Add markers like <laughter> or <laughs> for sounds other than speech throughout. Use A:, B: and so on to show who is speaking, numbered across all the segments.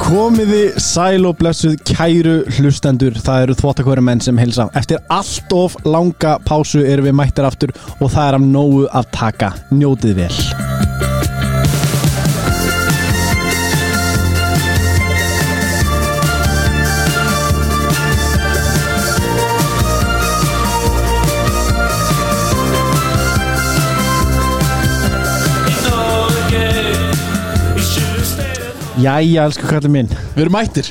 A: Komiði sæl og blessuð kæru hlustendur Það eru þvottakvöra menn sem heilsa Eftir allt of langa pásu erum við mættir aftur Og það er af nógu að taka Njótið vel Jæja, elsku kallið minn
B: Við erum mættir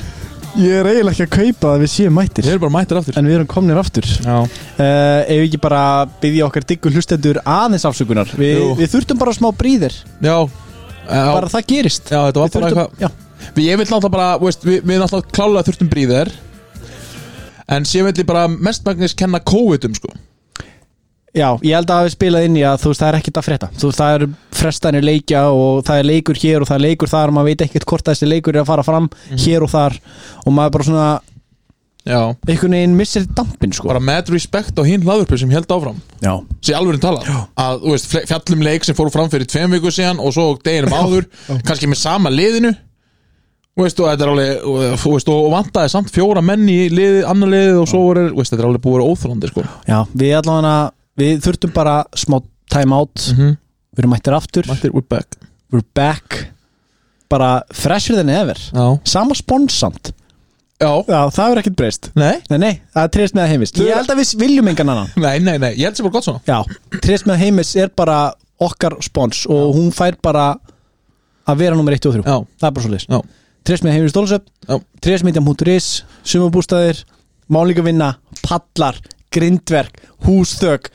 A: Ég er eiginlega ekki að kaupa að við séum mættir
B: Við erum bara mættir aftur
A: En við erum komnir aftur
B: Já
A: uh, Ef ekki bara byggja okkar diggu hlustendur aðeins afsökunar Vi,
B: Jú.
A: Við þurftum bara smá bríðir
B: Já
A: Bara það gerist
B: Já, þetta var
A: Við
B: bara
A: þurftum,
B: eitthvað Við- Ég vil náttúrulega bara, þú veist, við, við náttúrulega klálega þurftum bríðir En sér vil ég bara mestmagnis kenna COVID-um sko
A: Já, ég held að hafi spilað inn í að þú veist það er ekkert að frétta Þú veist það eru frestanir leikja og það er leikur hér og það er leikur þar og maður veit ekkert hvort þessi leikur er að fara fram
B: Mhm.
A: hér og þar og maður bara svona
B: Já
A: einhvern veginn missir dampin sko
B: Bara með respect á hinn hlaðurpu sem held áfram
A: Já,
B: Sér alveg tala Að, þú veist, fle- fjallum leik sem fóru fram fyrir tveim viku síðan Og svo deginum áður kannski með sama liðinu Þú veist, og þetta er alveg og, þú veist, og vantaði samt fjóra menn í liðið, annar liðið og svo voru, þú veist, þetta er alveg búið að vera óþrólandi sko.
A: já, við allavega við þurftum bara smá time out
B: Mhm.
A: við erum mættir aftur,
B: Mættir, we're back
A: we're back bara fresher than ever
B: Já,
A: sama sponsamt
B: Já.
A: Já, það er ekkert breyst
B: Nei
A: Nei, nei, það er treyst með að heimist Ég held að við viljum engan annan
B: Nei, nei, nei, ég held sem bara gott svona
A: Já, Trist með heimis er bara okkar spons og hún fær bara að vera nummer 1 og 3
B: Já,
A: Það er bara svo leis
B: já,
A: Trist með heimis
B: Já.
A: stólusöp Tristmyndjam.is Sumabústæðir Málingavinna Pallar Grindverk Húsþök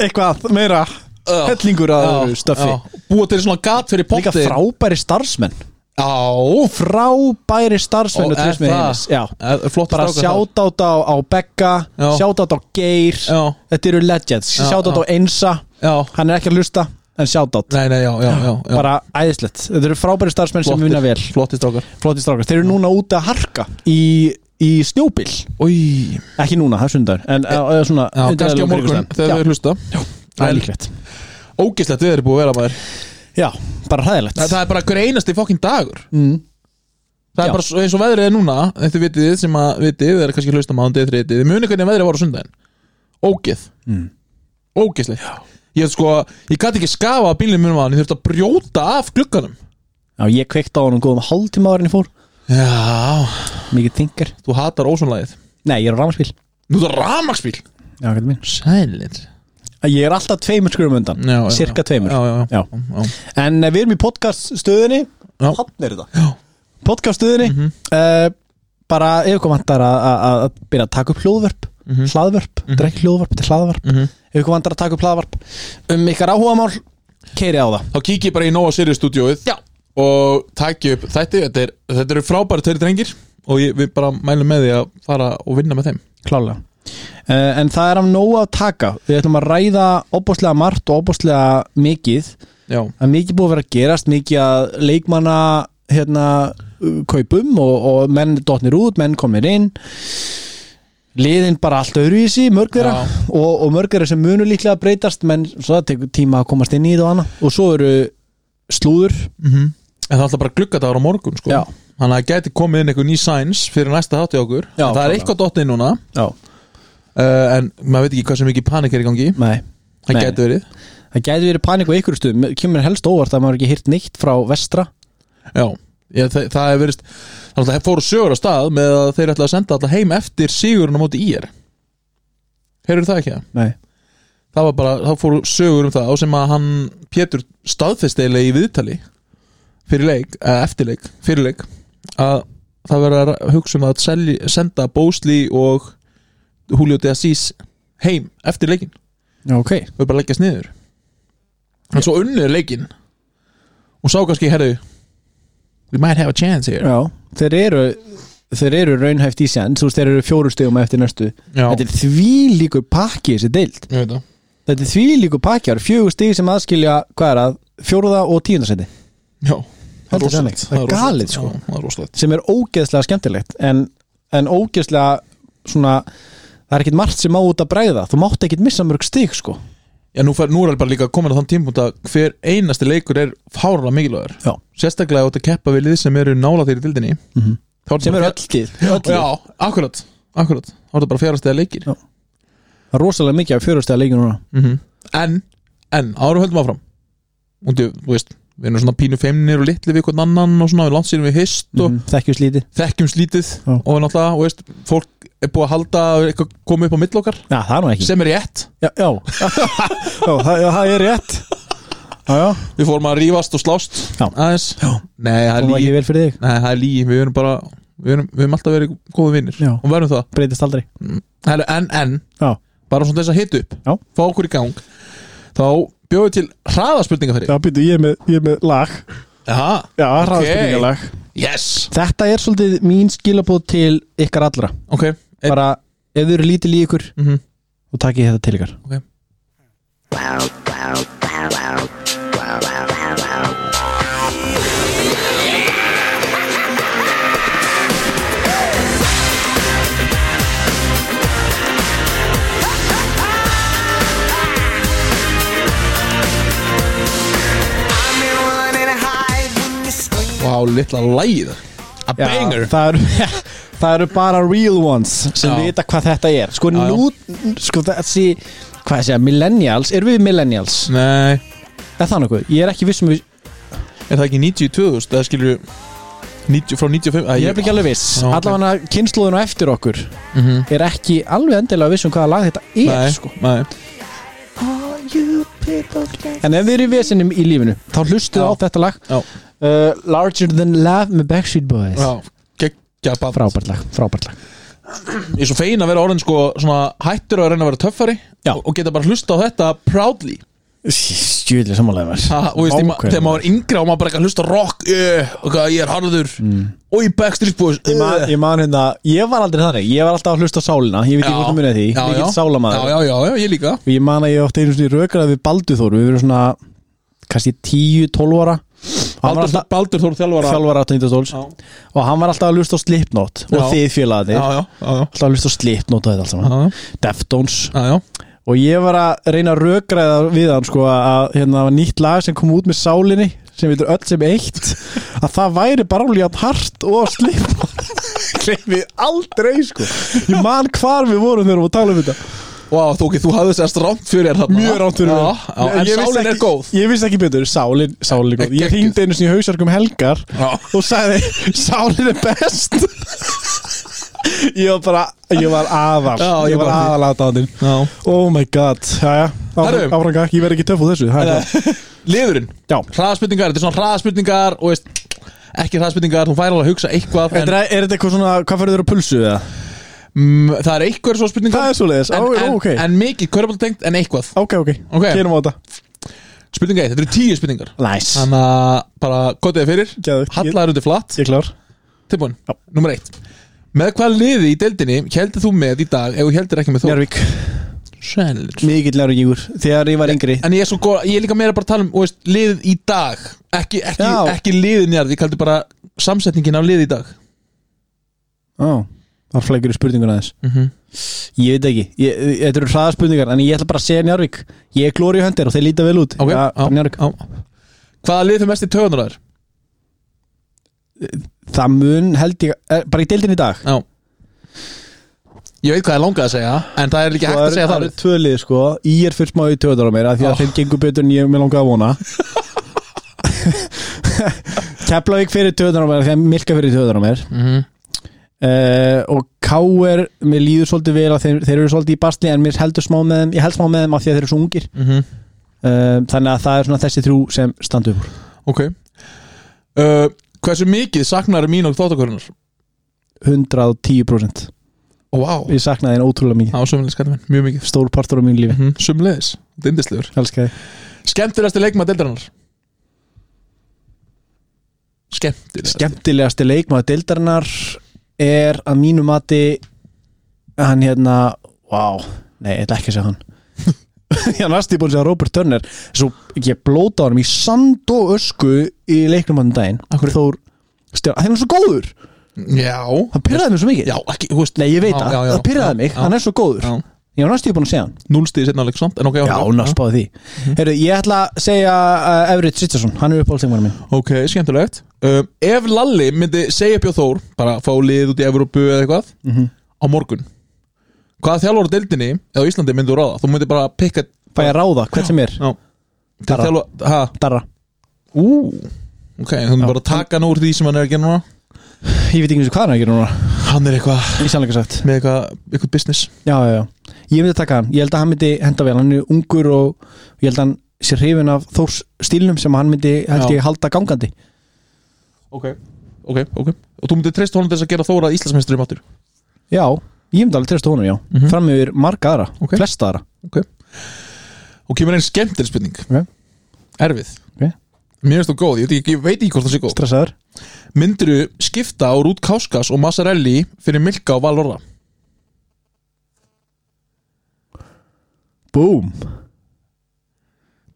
A: Eitthvað meira
B: Já.
A: Hellingur að öðru stöffi
B: já. Búa til svona gat fyrir
A: Líka
B: pottið
A: frábæri starfsmenn
B: Já,
A: Frábæri starfsmenn
B: Ó,
A: og Trist
B: er
A: með
B: það?
A: heimis Já
B: Eh, flott
A: Bara sjátátt á, á Begga
B: Já.
A: Sjátátt á Geir
B: Já,
A: Þetta eru legends
B: Já,
A: Sjátátt á
B: já.
A: Einsa
B: já,
A: hann er ekki að hlusta en shoutout
B: nei, nei, já, já, já, já.
A: bara æðislegt, þetta eru frábæri starfsmenn sem vinna vel
B: Flottir strákar
A: flotti strákar, þeir eru núna úti að harka í, í snjóbil,
B: Új,
A: ekki núna, það er sundar en e, svona,
B: já,
A: undir
B: kannski á
A: eðlilegum kringumstæðum.
B: morgun Þegar
A: já,
B: við hlusta
A: það er
B: En
A: líklegt
B: ógislegt við erum búið að vera maður
A: já, bara hræðilegt
B: Það það er bara hver einasti fokkin dagur
A: mm. Já.
B: Það er bara svo- eins og veðrið er núna Þetta vitið þið sem að vitið Þið er kannski að hlusta maður Þið þreytið Þið munið hvernig veðrið var á sundaginn Ógið
A: Mm.
B: Ógislegt Ég sko Ég gæti ekki skafa að bílnum munum að hann Ég þurfti að brjóta af glugganum
A: já, ég kveikt á honum góðum hálftíma ára en ég fór
B: Já
A: mikið þingar,
B: Þú hatar ósónlægið
A: nei, ég er á rámaspil
B: Nú það er rafmagsbíl
A: já, kallinn minn.
B: Sælir
A: ég er alltaf tveimur skrum undan cirka tveimur
B: Já, já,
A: Já.
B: já, já.
A: en eh, við erum í podcast stöðinni
B: Já. Mhm.
A: hann er þetta
B: Já.
A: podcast stöðinni mm bara ef ykkur vantar að- að að byrja að taka upp hljóðvörp hlaðvörp, þetta er ekki hljóðvörp, þetta er hlaðvörp
B: Mhm.
A: ef ykkur vantar að taka upp hlaðvörp um ykkar áhugamál, keiri á það
B: Þá kík ég bara í Nóa Sirius stúdíóið
A: Já.
B: Og takk upp þetta Þetta, er, þetta eru frábæri tveir drengir Og ég, við bara mælum með því að fara og vinna með þeim
A: klálega uh, en það er af nógu að taka við ætlum að ræða opbóstlega margt og opbóstlega mikið
B: Já,
A: að mikið búið að vera að gerast mikið að leikmanna hérna, uh, kaupum og, og menn dotnir út, menn komir inn liðin bara allt öðru í sí mörg þeirra
B: Já.
A: og, og mörg þeirra sem munu líklega að breytast menn svo það tekur tíma að komast inn í þetta og annað og svo eru slúður
B: en það er alltaf bara gluggadáður á morgun sko.
A: Mhm. Já.
B: Þannig að það gæti komið inn einhver ný sæns Fyrir næsta þátti okkur
A: Já,
B: En Það er
A: klálega.
B: eitthvað dottið núna
A: Já.
B: uh, En maður veit ekki hvað sem mikið panik er í gangi
A: Nei,
B: Það
A: Nei.
B: gæti verið
A: það gæti verið panik á ykkur stuðum kemur helst á óvart að maður hefur ekki hýrt neitt frá vestra
B: Já, ég, það, það er verið Þannig að það fóru sögur á stað með að þeir ætla að senda alltaf heim eftir sigurinn á móti í er Heyrðu það ekki það?
A: Nei.
B: Það var bara, þá fóru sögur um það á sem að hann Pétur staðfestiðlega í viðtali fyrir leik, eða eftir leik, fyrir leik að það verður að ra- hugsa um að selji, senda Bósli og Julio de Assis heim eftir leikin
A: Já, ok
B: við bara leggjast niður en svo unnur leikin og sá kannski, herðu we might have a chance here
A: Já, þeir eru þeir eru raunhæft í send, þú veist þeir eru fjóru stegum eftir næstu,
B: Já,
A: þetta er því líkur pakki þessi deild
B: ég veit það
A: Þetta er því líku pakkjar, fjögur stig sem aðskilja, hvað er að, fjóruða og tíundarsæti
B: Já,
A: Heldur sannleikt. Það er galið, sko.
B: Já, Það er rosalegt
A: sem er ógeðslega skemmtilegt en, en ógeðslega svona, það er ekkit margt sem á út að bregða þú mátt ekkit missa mörg stig sko
B: Já, nú, fer, nú er bara líka komin á þann tímpúnt að hver einasti leikur er fárlega mikilvægur
A: Já.
B: Sérstaklega ef þú átt að keppa við lið sem eru nála þér í dildinni
A: Mhm.
B: Þá ertu
A: sem
B: bara
A: eru
B: að
A: öll tíð
B: fjall- Já, akkurat, akkurat Þá er bara fjárast eða leikir
A: Já. Það er rosalega mikið af fjörustega leikir núna
B: -hmm. En, en, árum höldum áfram Og þú þú veist, við erum svona pínu feimnir og litli við hvern annan og svona við landsýrum við hist og
A: mm, Þekkjus lítið
B: þekkjum slítið
A: Já.
B: og náttúrulega, þú veist, fólk er búið að halda að eitthvað komið upp á mill okkar
A: Já, það er nú ekki
B: sem er rétt,
A: Já, <laughs> já. já, það, já það er rétt Já, já,
B: við fórum að rífast og slást
A: Já.
B: aðeins
A: Já.
B: Nei, það
A: það
B: er
A: var
B: lígi
A: ekki vel fyrir þig
B: Nei, það er lígi, við erum bara Við erum, við erum alltaf verið góða vinnir
A: Já.
B: Og verðum það
A: Breytist aldrei
B: Heru, En, en,
A: Já,
B: bara svona þess að hita upp
A: Já.
B: Fá okkur í gang Þá bjóðum við til hraðaspurninga fyrir
A: já býtu, ég, er með- ég er með lag
B: Já,
A: Já,
B: Ok.
A: hraðspurningalag
B: yes
A: Þetta er svolítið mín skilabóð til ykkar allra
B: Ok, er,
A: Bara, ef þau eru lítil í ykkur
B: mm
A: og takkið þetta til ykkar
B: ok Vá, litla lægið A
A: Já,
B: banger
A: það eru, <laughs> það eru bara real ones sem
B: Já.
A: vita hvað þetta er Sko,
B: Já, já.
A: nú, sko þessi Hvað ég segja, millennials, erum við millennials?
B: Mm. Nei,
A: Er það nokkuð? Ég er ekki viss um við
B: er það ekki 92 Það skilur 90, frá 95 að
A: Ég er ekki alveg viss
B: Já, ok.
A: Allavega okay. kynnslóðinu eftir okkur
B: Mhm.
A: er ekki alveg endilega viss um hvaða lag þetta er
B: Nei,
A: sko.
B: nei
A: En ef þið eru í vesinum í lífinu þá hlustuðu
B: Já.
A: á þetta lag
B: Já.
A: uh, Larger Than Love með Backstreet Boys
B: Já, geggja band
A: Frábært lag, frábært lag
B: Ég er svo fegin að vera orðin sko svona hættur að reyna að vera töffari
A: Já.
B: og, og geta bara hlusta á þetta proudly
A: Stjúðlega sammálega mér
B: ha, og veist, ég, ma- þegar maður er yngri og maður bara ekki að hlusta á rock uh, og hvað ég er harður mm. og ég backstreet boys
A: Ég man,
B: uh.
A: ég man hérna, ég var aldrei þannig Ég var alltaf að hlusta á sálina, ég veit ekki hvort að muni því Ég get sálamaður
B: já, já, já, já, ég líka
A: og ég man að ég átti einu svona rökrað við Baldur Þór Við verðum svona, kannski 10-12 ára Og hann var
B: Baldur,
A: alltaf-
B: alltaf... Baldur Þór þjálfara
A: þjálfar 18. stóls
B: Já.
A: og hann var alltaf að lusta á Slipknot
B: Já.
A: og þið félagið
B: já, já, já, já.
A: alltaf að lusta á Slipknot og þetta allt saman
B: Já,
A: Deftones
B: já, já,
A: og ég var að reyna að rökræða við hann sko að hérna það var nýtt lag sem kom út með sálinni sem við öll sem eitt að það væri bara alveg hart og Slipknot gleymið aldrei sko ég man hvar við vorum þegar við vorum að tala um þetta
B: Vá, þú, okay, þú hafði sérst rámt fyrir þér þarna
A: mjög rátt fyrir
B: Já,
A: mig.
B: já, En
A: Ég vissi
B: sálin er
A: ekki-
B: góð
A: ég vissi ekki betur, sálin, sálin er góð ég
B: Gekkjuð.
A: hringdi einu sinni í hausarkum helgar
B: Já.
A: og sagði sálin er
B: <laughs>
A: best ég var bara ég var aðal,
B: Já, ég
A: ég var
B: bara-
A: aðal aðdáðin
B: Já.
A: oh my god, já já
B: Herru.
A: áfranga, ég verð ekki töff úr þessu það er klart.
B: Liðurinn,
A: já,
B: hraðaspurningar, þetta er svona hraðaspurningar og veist, ekki hraðaspurningar, þú fær alveg að hugsa eitthvað en,
A: Þetta er, er þetta eitthvað svona, hvað fyrir þér á pulsu eða?
B: mm, það er eitthvað svo spurningar
A: Það er svoleiðis,
B: en,
A: Ó,
B: en,
A: ok
B: en mikið körbáltengt en eitthvað
A: Ok, ok,
B: Ok.
A: kynum á þetta
B: Spurninga 1, þetta eru tíu spurningar
A: Læs,
B: Þannig að bara gotiði fyrir
A: Geðveikt.
B: Hallaður undir flatt,
A: ég er klár
B: tilbúin
A: Já.
B: Númer 1 Með hvað liði í deildinni heldur þú með í dag ef þú heldur ekki með þó?
A: Njárvík,
B: Sjælir
A: mikill njárvíkur Þegar ég var yngri
B: En ég er, svo góð, ég er líka meira bara að tala um þú veist, liðið í dag Ekki, ekki,
A: Já.
B: ekki liðið njörð, ég kaldi bara samsetningin af liðið í dag
A: Ó, það er flækjur í spurninguna þess
B: mm -hmm.
A: Ég veit ekki, ég, þetta eru hraðaspurningar En ég ætla bara að segja Njárvík Ég er glóri höndir og þeir líta vel út
B: Ok,
A: ja,
B: já,
A: Njárvík
B: já. Hvaða liðið þau mest í töðunar þær?
A: Það mun held ég, er, bara í deildin í dag
B: Já Ég veit hvað ég langaði að segja En það er líka hægt að segja
A: Sko, það
B: það
A: eru tvö lið sko Ég er fyrst smá í töðar á mér af Því
B: Ó.
A: að þeim gengur betur en ég mér langaði að
B: <laughs>
A: vona Keflavík fyrir töðar á mér af Því að Milka fyrir töðar á mér
B: Mhm.
A: uh, Og K.R. Mér líður svolítið vel að þeir, þeir eru svolítið í basli En mér heldur smá með þeim Ég held smá með þeim af því að þeir eru svo ungir
B: Mhm.
A: uh, Þannig að það er svona þessi þrjú sem standu upp úr
B: Ok uh, Hversu mikið saknar mín og þáttakörunars?
A: 110%
B: Ó, vá
A: Ég saknaði henni ótrúlega mikið
B: Á, sömulegis skæðum minn, mjög mikið
A: Stór partur á mínu lífi
B: mm, Sömulegis, dindislegur
A: Elskar þið
B: Skemmtilegasti leikmaður deildarinnar Skemmtilegasti
A: Skemmtilegasti leikmaður deildarinnar er að mínu mati hann hérna Vá, nei, ég ætla ekki að segja hann <laughs> Ég er næstu búin að segja Robert Turner Svo ég blóta á hann í sand og ösku í leiknum hann daginn
B: Akkur-
A: Þór Stjórn, þegar hann er svo góður
B: Já
A: Hann pyrraði mig svo mikið
B: Já, ekki, þú veist
A: Nei, ég veit
B: Já,
A: það,
B: já, já.
A: það pyrraði
B: Já,
A: mig,
B: já.
A: hann er svo góður
B: Já.
A: ég var næstu búin að segja hann
B: núlstíði setna leik samt en ok, Mhm.
A: Já,
B: áfram.
A: næstu báði því Heyrðu, ég ætla að segja uh, Everett Sitchason, hann er uppáhaldsengvarinn minn
B: ok, skemmtilegt um, ef Lalli myndi segja upp hjá Þór bara fá lið út í Evrópu eða eitthvað á morgun hvaða þjálfur á deildinni eða á Íslandi myndi þú ráða þú myndi bara pikka
A: Fæ ég að ráða, hvern sem er
B: Já. til
A: Darra.
B: þjálfur ha,
A: Darra,
B: ú ok, þú myndi
A: Já.
B: bara taka hann úr því sem hann er að gera núna
A: ég veit ekki eins og hvað hann er að gera núna
B: hann er eitthvað
A: Í sannleika sagt
B: með eitthvað, eitthvað business
A: Já, já, já, ég myndi taka hann Ég held að hann myndi henda vel, hann er ungur og ég held að hann sé hrifin af Þórs stílnum sem hann myndi, held
B: Já.
A: ég, halda gangandi
B: ok, ok, ok og þú myndi treysta honum til þess að gera Þóra Íslandsmeisturum áttur
A: Já, ég myndi alveg treysta honum, já
B: Mhm.
A: Fram yfir marga aðra,
B: Ok.
A: flesta aðra
B: og kemur einn skemmtileg spurning
A: Ok.
B: erfið
A: Ok.
B: mér finnst þú góð, ég veit ekki, ég veit ekki hvort það sé góð
A: Stressaður
B: myndiru skipta á Rút Káskas og Massarelli fyrir Milka og Valorra
A: Búm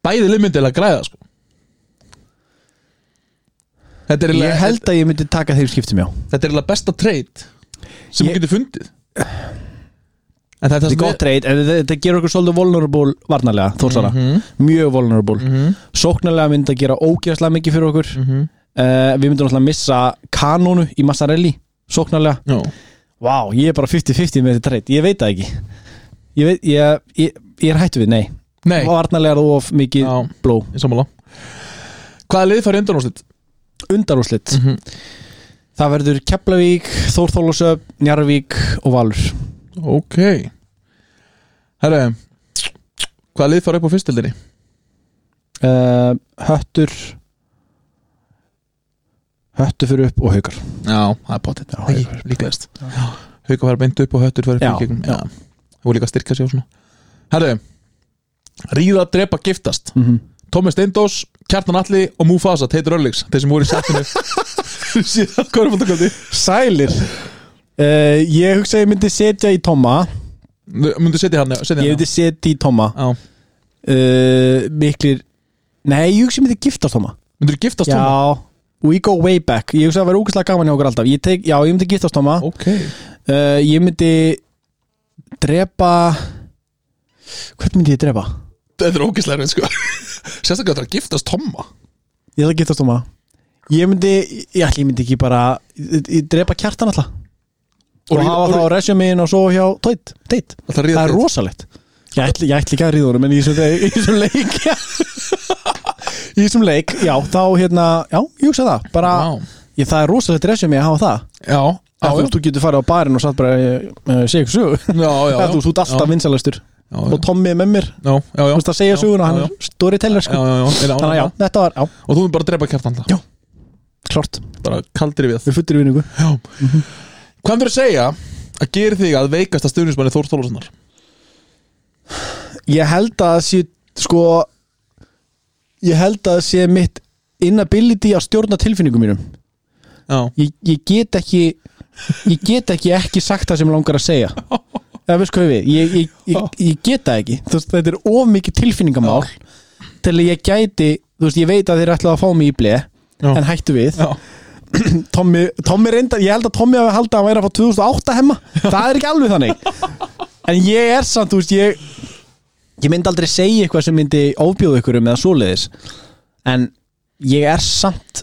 B: bæði liðmyndilega græða sko. þetta er
A: Ég
B: eiginlega-
A: held að ég myndi taka þeim skiptum, já
B: þetta er eiginlega besta treyt sem
A: Ég-
B: þú getur fundið en það er það
A: Þetta er
B: sem
A: gott eh, reynd, en þetta- þetta gerur okkur svolítið vulnerable varnarlega, Þórsara
B: Mhm,
A: Mjög vulnerable
B: mhm,
A: sóknarlega myndi að gera ógeðslega mikið fyrir okkur mm.
B: mhm.
A: við myndum alltaf að missa kanónu í Massarelli sóknarlega
B: Já.
A: Vá, ég er bara 50-50 með þetta treyt, ég veit það ekki Ég, veit, ég, ég, ég er hættu við, nei,
B: nei,
A: Varnarlega er það of mikið
B: já,
A: bló
B: ég sammála hvaða liði farið undan á slitt?
A: Undarúslit,
B: Mhm.
A: það verður Keflavík, Þórþólusöp, Njarvík og Valur
B: ok herru hvaða lið farið upp á fyrstildinni?
A: uh, Höttur Höttur fyrir upp og haukar
B: Já, það er potið
A: Já,
B: Ekki,
A: Haukar er
B: líklegast Hauka fara beint upp og höttur fara upp
A: Já,
B: í gegnum
A: já.
B: Já, og líka að styrka sér og svona Herðu, ríða, drepa, giftast
A: mm -hmm.
B: Tómi Steindós, Kjartan Alli og Mufasa Teitur Örlíks, þeir sem voru
A: <laughs>
B: í settinu síðan korfaldakvöldi
A: Sælir uh, Ég hugsa að ég myndi setja í Tomma
B: Mundu setja hann, já, setja
A: Ég
B: hann
A: myndi setja í Tomma
B: já. Já.
A: uh, Miklir Nei, ég hugsa að ég myndi giftast Tomma
B: Mundur giftast Tóma?
A: Já, we go way back Ég hugsa að það vera úkislega gaman hjá okkur alltaf ég tek, Já, ég myndi giftast Tomma uh,
B: Ok
A: Ég myndi drepa Hvern myndi ég drepa?
B: Þetta er ógislega reynd sko <laughs> Sérstaklega þetta er að giftast Tóma
A: Ég ætla að giftast Tomma Ég myndi, ég ætla, ég myndi ekki bara ég, ég drepa kjartan alltaf Og,
B: ríða-
A: hafa það á resumein og svo hjá Tóitt, teitt
B: Alltaf ríða
A: Það er
B: Teit.
A: rosalegt Ég ætli, ég ætli ekki að ríða honum En í þessum leik- í þessum leik <laughs> Í þessum leik, já, þá hérna Já, ég hugsa það Bara,
B: Vá.
A: ég, það er rosalegt resum ég að hafa það
B: Já, já,
A: Að þú,
B: já,
A: þú getur farið á barinn og satt bara uh, Segja ykkur sögu
B: já, já,
A: Eða <laughs> Þú þú ert alltaf
B: já,
A: vinsælastur
B: já,
A: Og Tommi er með mér
B: já, já, já,
A: Þú veist að segja
B: já,
A: söguna, hann
B: já,
A: er storyteller
B: já,
A: sko.
B: já, já, já,
A: Þannig að já, þetta var, já,
B: og þú er bara að drepa kjartan
A: Já. klart
B: bara kaldri við
A: Við futtir í vinningu
B: hvað er að segja að gera þig að veikasta stuðnismanni Þór Þólarssonar
A: Ég held að það sé sko Ég held að það sé mitt Inability að stjórna tilfinningum mínum
B: já,
A: ég, ég get ekki ég get ekki ekki sagt það sem mig langar að segja það veist hvað ég við ég, ég, ég, ég get það ekki Þú veist, þetta er of mikið tilfinningamál til að ég gæti, þú veist, ég veit að þeir ætlaðu að fá mig í bleið
B: Já.
A: en hættu við
B: já,
A: Tommy, Tommy reyndar, ég held að Tommy hafi haldið að hann væri að fá 2008 hemma það er ekki alveg þannig en ég er samt, þú veist, ég ég myndi aldrei segja eitthvað sem myndi ofbjóða ykkur um eða svoleiðis en ég er samt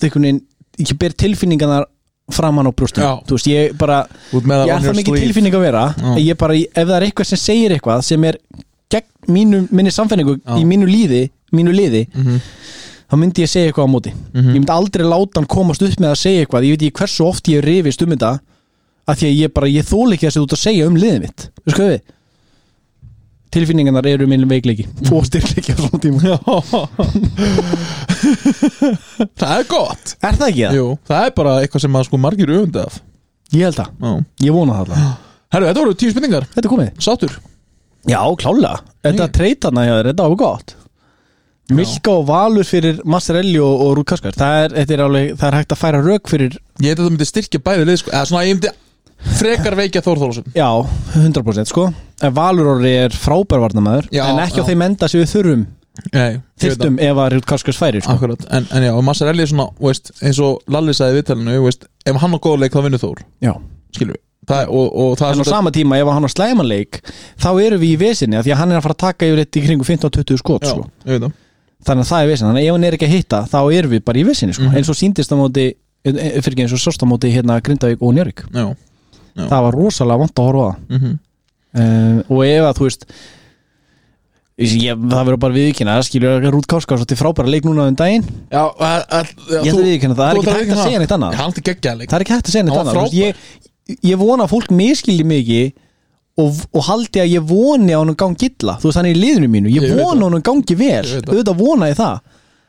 A: einhvern veginn, ég ber tilfinningarnar framan á brjóstum,
B: Já.
A: þú veist, ég bara
B: út
A: ég
B: með on
A: er
B: your
A: það mikið
B: sleeve.
A: tilfinning að vera
B: Já.
A: að ég bara, ef það er eitthvað sem segir eitthvað sem er gegn mínu, minni samfenningu
B: Já.
A: í mínu líði, mínu liði
B: Mhm.
A: þá myndi ég segja eitthvað á móti
B: Mhm.
A: ég myndi aldrei láta hann komast upp með að segja eitthvað ég veit ekki hversu oft ég rifist um þetta af því að ég bara, ég þól ekki þessi út að segja um liðið mitt, þú skoðu við tilfinningarnar eru minn veikleiki
B: Mhm.
A: og styrkleiki á svona tíma
B: það er gott
A: er það ekki það?
B: Jú, það er bara eitthvað sem að sko margir öfunda af
A: ég held það,
B: Já.
A: ég vona það alltaf
B: herru, þetta voru tíu spurningar
A: þetta er komið
B: sátur
A: Já, klálega Þetta
B: Ég-
A: treytana hjá þér, þetta var gott Milka og Valur fyrir Massarelli og, og Rúkaskar það er, þetta er alveg, það er hægt að færa rök fyrir
B: ég held að það myndi styrkja bæði lið sko. eða svona ég myndi frekar veikja Þór Þólarsson
A: Já, 100% sko En Valur orði er frábærvarnamæður
B: Já,
A: En ekki á
B: já.
A: þeim enda sem við þurfum
B: nei, ég veit það.
A: Þyrstum ef að Rúkaskars færi sko.
B: Akkurat, en, en já, og Massarelli er svona, veist, eins og Lalli sagði í viðtalinu, veist, ef hann á góða leik þá vinnur Þór
A: Já,
B: skilur við, það, og, og það
A: en á sama tíma ef hann á slæmanleik þá erum við í vesinni af því að hann er að fara að taka yfir eitt í kringu 15-20 skot
B: já,
A: sko.
B: ég veit það
A: þannig að það er vesinni, þannig að ef hann er ekki að hitta þá erum við bara í vesinni sko.
B: Mhm.
A: eins og síndist á móti e- e- fyrir ekki eins og sást á móti hérna Grindavík og Njörg
B: já, Já.
A: það var rosalega vant að horfa á það
B: mm
A: um, og ef að þú veist ég, ég- það verður bara viðkynna skilur Rút Káskás átti frábæra leik núna um daginn
B: já, að, að, já
A: ég ætla að viðurkenna það, það er
B: þú
A: ekki hægt
B: ætlar
A: að
B: viðurkenna
A: segja neitt annað.
B: Já, hann er geggjað leik
A: það er ekki hægt að segja neitt
B: Hann var
A: annað þú veist, ég, ég vona að fólk miskilji mikið og, og haldi að ég voni að honum gangi illa þú veist hann er í liðinu mínu, ég,
B: Ég veit
A: vona
B: það.
A: að honum gangi vel
B: Ég veit það.
A: auðvitað vona ég það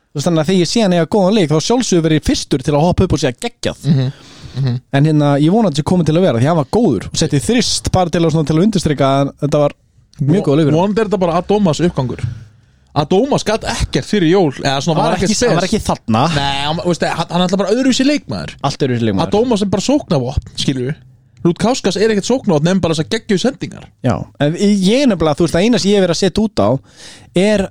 A: þú veist þannig að þegar ég sé hann eiga góðan leik þá sjálfsögur verið fyrstur til að hoppa upp og segja geggjað
B: Mhm,
A: en hérna ég vona að þetta sé komið til að vera því hann var góður og setti þrist bara til að, svona, til að undirstrika að þetta var mjög góð leikur
B: vonandi er þetta bara Adómas uppgangur Adómas gætt ekkert fyrir jól eða svona
A: hann var
B: var
A: ekki,
B: ekkert spes
A: hann var ekki þarna
B: Nei, hann, veist, hann, hann er alltaf bara öðruvísi leikmaður
A: allt eru þessi leikmaður
B: Adómas er bara sóknavopn, skilur við Rút Káskas er ekkert sóknavopn nefn bara þess að geggju sendingar
A: Já, en ég nefnilega, þú veist, að eina sem ég hef verið að setja út á er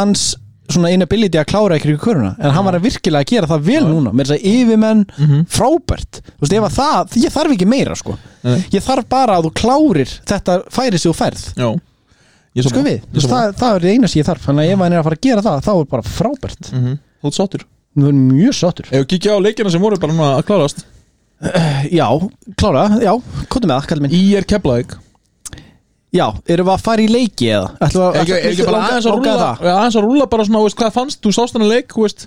A: hans svona inability að klára ekkert í köruna en hann var að virkilega að gera það vel núna með þess að yfirmenn
B: Mhm.
A: frábært þú veist, ef að það, ég þarf ekki meira sko
B: Nei.
A: ég þarf bara að þú klárir þetta færi sig og ferð,
B: Já Ég
A: sko við
B: Ég
A: það,
B: sammála.
A: það, það er það eina sem ég þarf, þannig að ef hann er að fara að gera það þá er bara frábært,
B: Mhm. Þú ert sáttur
A: þú er mjög sáttur
B: Ef við kíkja á leikina sem voru bara núna að klárast
A: Já, klára, já, komdu með það, kallið minn
B: Í er Keflavík
A: Já, erum við að fara í leiki eða? Ætlum við
B: Er ekki- er ekki bara
A: langa-
B: aðeins að
A: langa
B: rúlla
A: það?
B: ja, aðeins að rúlla bara svona, veist, hvað fannst þú sást hann að leik, þú veist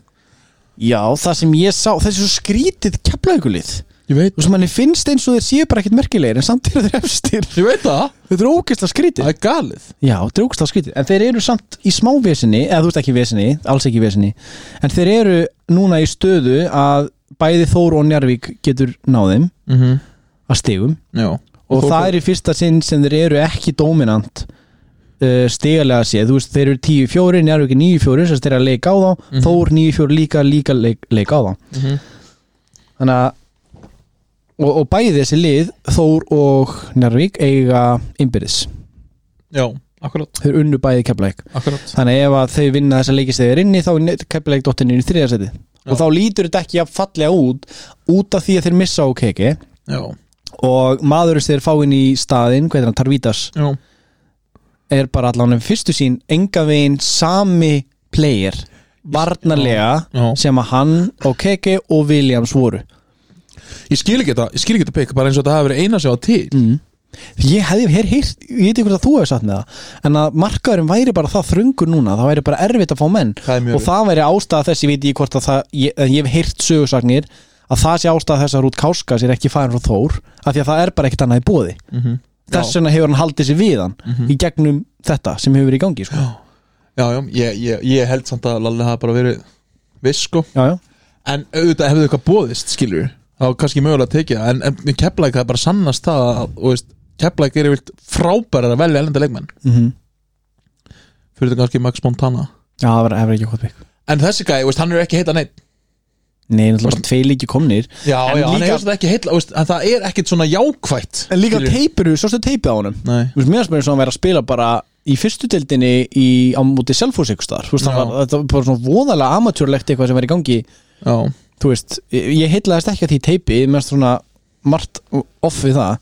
A: Já, það sem ég sá, þessi svo skrítið keflaugulið Þú
B: Ég veit
A: veist, manni finnst eins og þeir séu bara ekkert merkilegir en samt eru þeir efstir <laughs>
B: Ég veit það,
A: Þetta er ógeðslega skrítið
B: það er galið
A: Já, þetta er ógeðslega skrítið En þeir eru samt í smávesinni, eða þú veist ekki vesinni, alls ekki vesinni En þeir eru núna í stöðu að bæði Þór og Njarvík getur náðum
B: mm -hmm.
A: að stigum
B: Já
A: Og það er í fyrsta sinn sem þeir eru ekki dóminant uh, stigalega séð Þú veist, þeir eru 10-4, Njarvík er 9-4, þess að þeir eru að leika á þá
B: Mhm.
A: Þór 9-4 líka, líka leik, leika á þá
B: mm -hmm.
A: þannig að og, og bæði þessi lið Þór og Njárvík eiga innbyrðis,
B: Já, akkurat,
A: þau eru unnu bæði keflæk
B: akkurat
A: þannig að ef að þau vinna þessa leikist þegar inni þá er keflæk dottinni í þriðarsæti og þá lítur þetta ekki jafn fallega út út af því að þeir missa á keki
B: Já,
A: og maður sem þeir fá inn í staðinn hvað er hann, Tarvítas,
B: já,
A: er bara allan um fyrstu sín enga veginn sami player varnarlega
B: já
A: sem að hann og keki og Williams voru
B: Ég skil ekki þetta, ég skil ekki þetta pikk bara eins og þetta hafi verið eina sem var til
A: mm. ég hefði hér heyrt, ég veit ekki hvort að þú hefði satt með það en að markaðurinn væri bara það þröngur núna, það væri bara erfitt að fá menn
B: Það er mjög
A: og það væri ástæða þess, ég veit ekki hvort að það ég, en ég hef heyrt sögursagnir að það sé ástæða þess að Rút Káskas er ekki farin frá Þór af því að það er bara ekkert annað í bóði
B: mm -hmm.
A: þess vegna hefur hann haldið sér við hann í gegnum þetta sem hefur verið í gangi sko.
B: Já, já, ég, ég, ég held samt að Lalli hafi bara verið viss sko
A: já, já.
B: En auðvitað hefðu eitthvað bóðist, skilur við Það var kannski mögulega að tekið það, En, en Keflæk það er bara sannast það að, og veist, Keflæk er yfir frábærar að velja elenda leikmenn
A: Mm
B: Fyrir þetta kannski Max Montana
A: já, það var- það var ekki hvort bygg
B: En þessi gæði, veist, hann er ekki heita neitt
A: Nei, náttúrulega bara tvei líki komnir
B: Já,
A: En
B: já, hann
A: líka-
B: er þetta ekki heita veist, En það er ekkit svona jákvætt
A: En líka
B: skilurðu.
A: teipinu, svo stu teipið á honum
B: Nei
A: Þú veist, mér spyrir svo að hann væri að spila bara í fyrstu deildinni í, á múti Selfoss ykkur staðar, þú veist, hann
B: Já.
A: var, þetta var bara svona voðalega amatjörlegt eitthvað sem er í gangi
B: Já,
A: þú veist, ég ég heitlaðist ekki að því teipi mér finnst svona margt off við það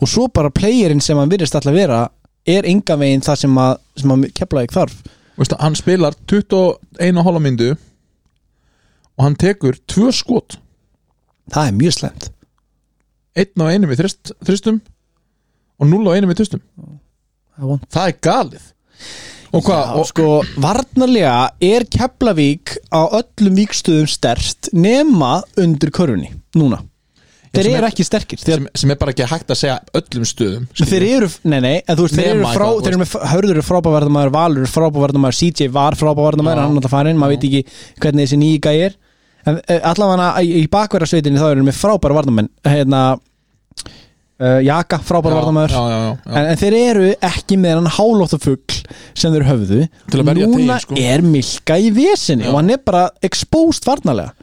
A: og svo bara playerinn sem hann virðist alltaf vera er enga veginn það sem að, sem að kepla ekki þarf
B: veist, hann spilar 21 hóla myndu Og hann tekur tvö skot
A: það er mjög slemt
B: Einn á einum í þrist, þristum Og null á einum í þristum Það er galið Og hvað,
A: Já,
B: og,
A: sko, varnarlega er Keflavík á öllum víkstöðum stert nema undur körfunni núna
B: Já,
A: þeir
B: sem
A: eru
B: er-
A: ekki sterkir þeir,
B: sem, sem er bara ekki hægt að segja öllum stöðum
A: Men þeir eru, nei nei, en þú veist, þeir
B: Nema
A: eru frá
B: eitthvað,
A: þeir eru með, Hörður er frábæverðamæður, Valur er frábæverðamæður CJ var frábæverðamæður,
B: Já.
A: hann er alltaf farin maður veit ekki hvernig þessi nýja gæir en eh, allavega í, í bakverðarsveitinni þá eru þeir með frábæra varnamenn hérna, uh, Jaka, frábæra varnamenn
B: já, já, já, já.
A: en, en þeir eru ekki með hann hálóttu fugl sem þeir höfðu
B: Til að verja
A: núna
B: teginn, sko.
A: er Milka í vesinni
B: Já.
A: og hann er bara exposed varnarlega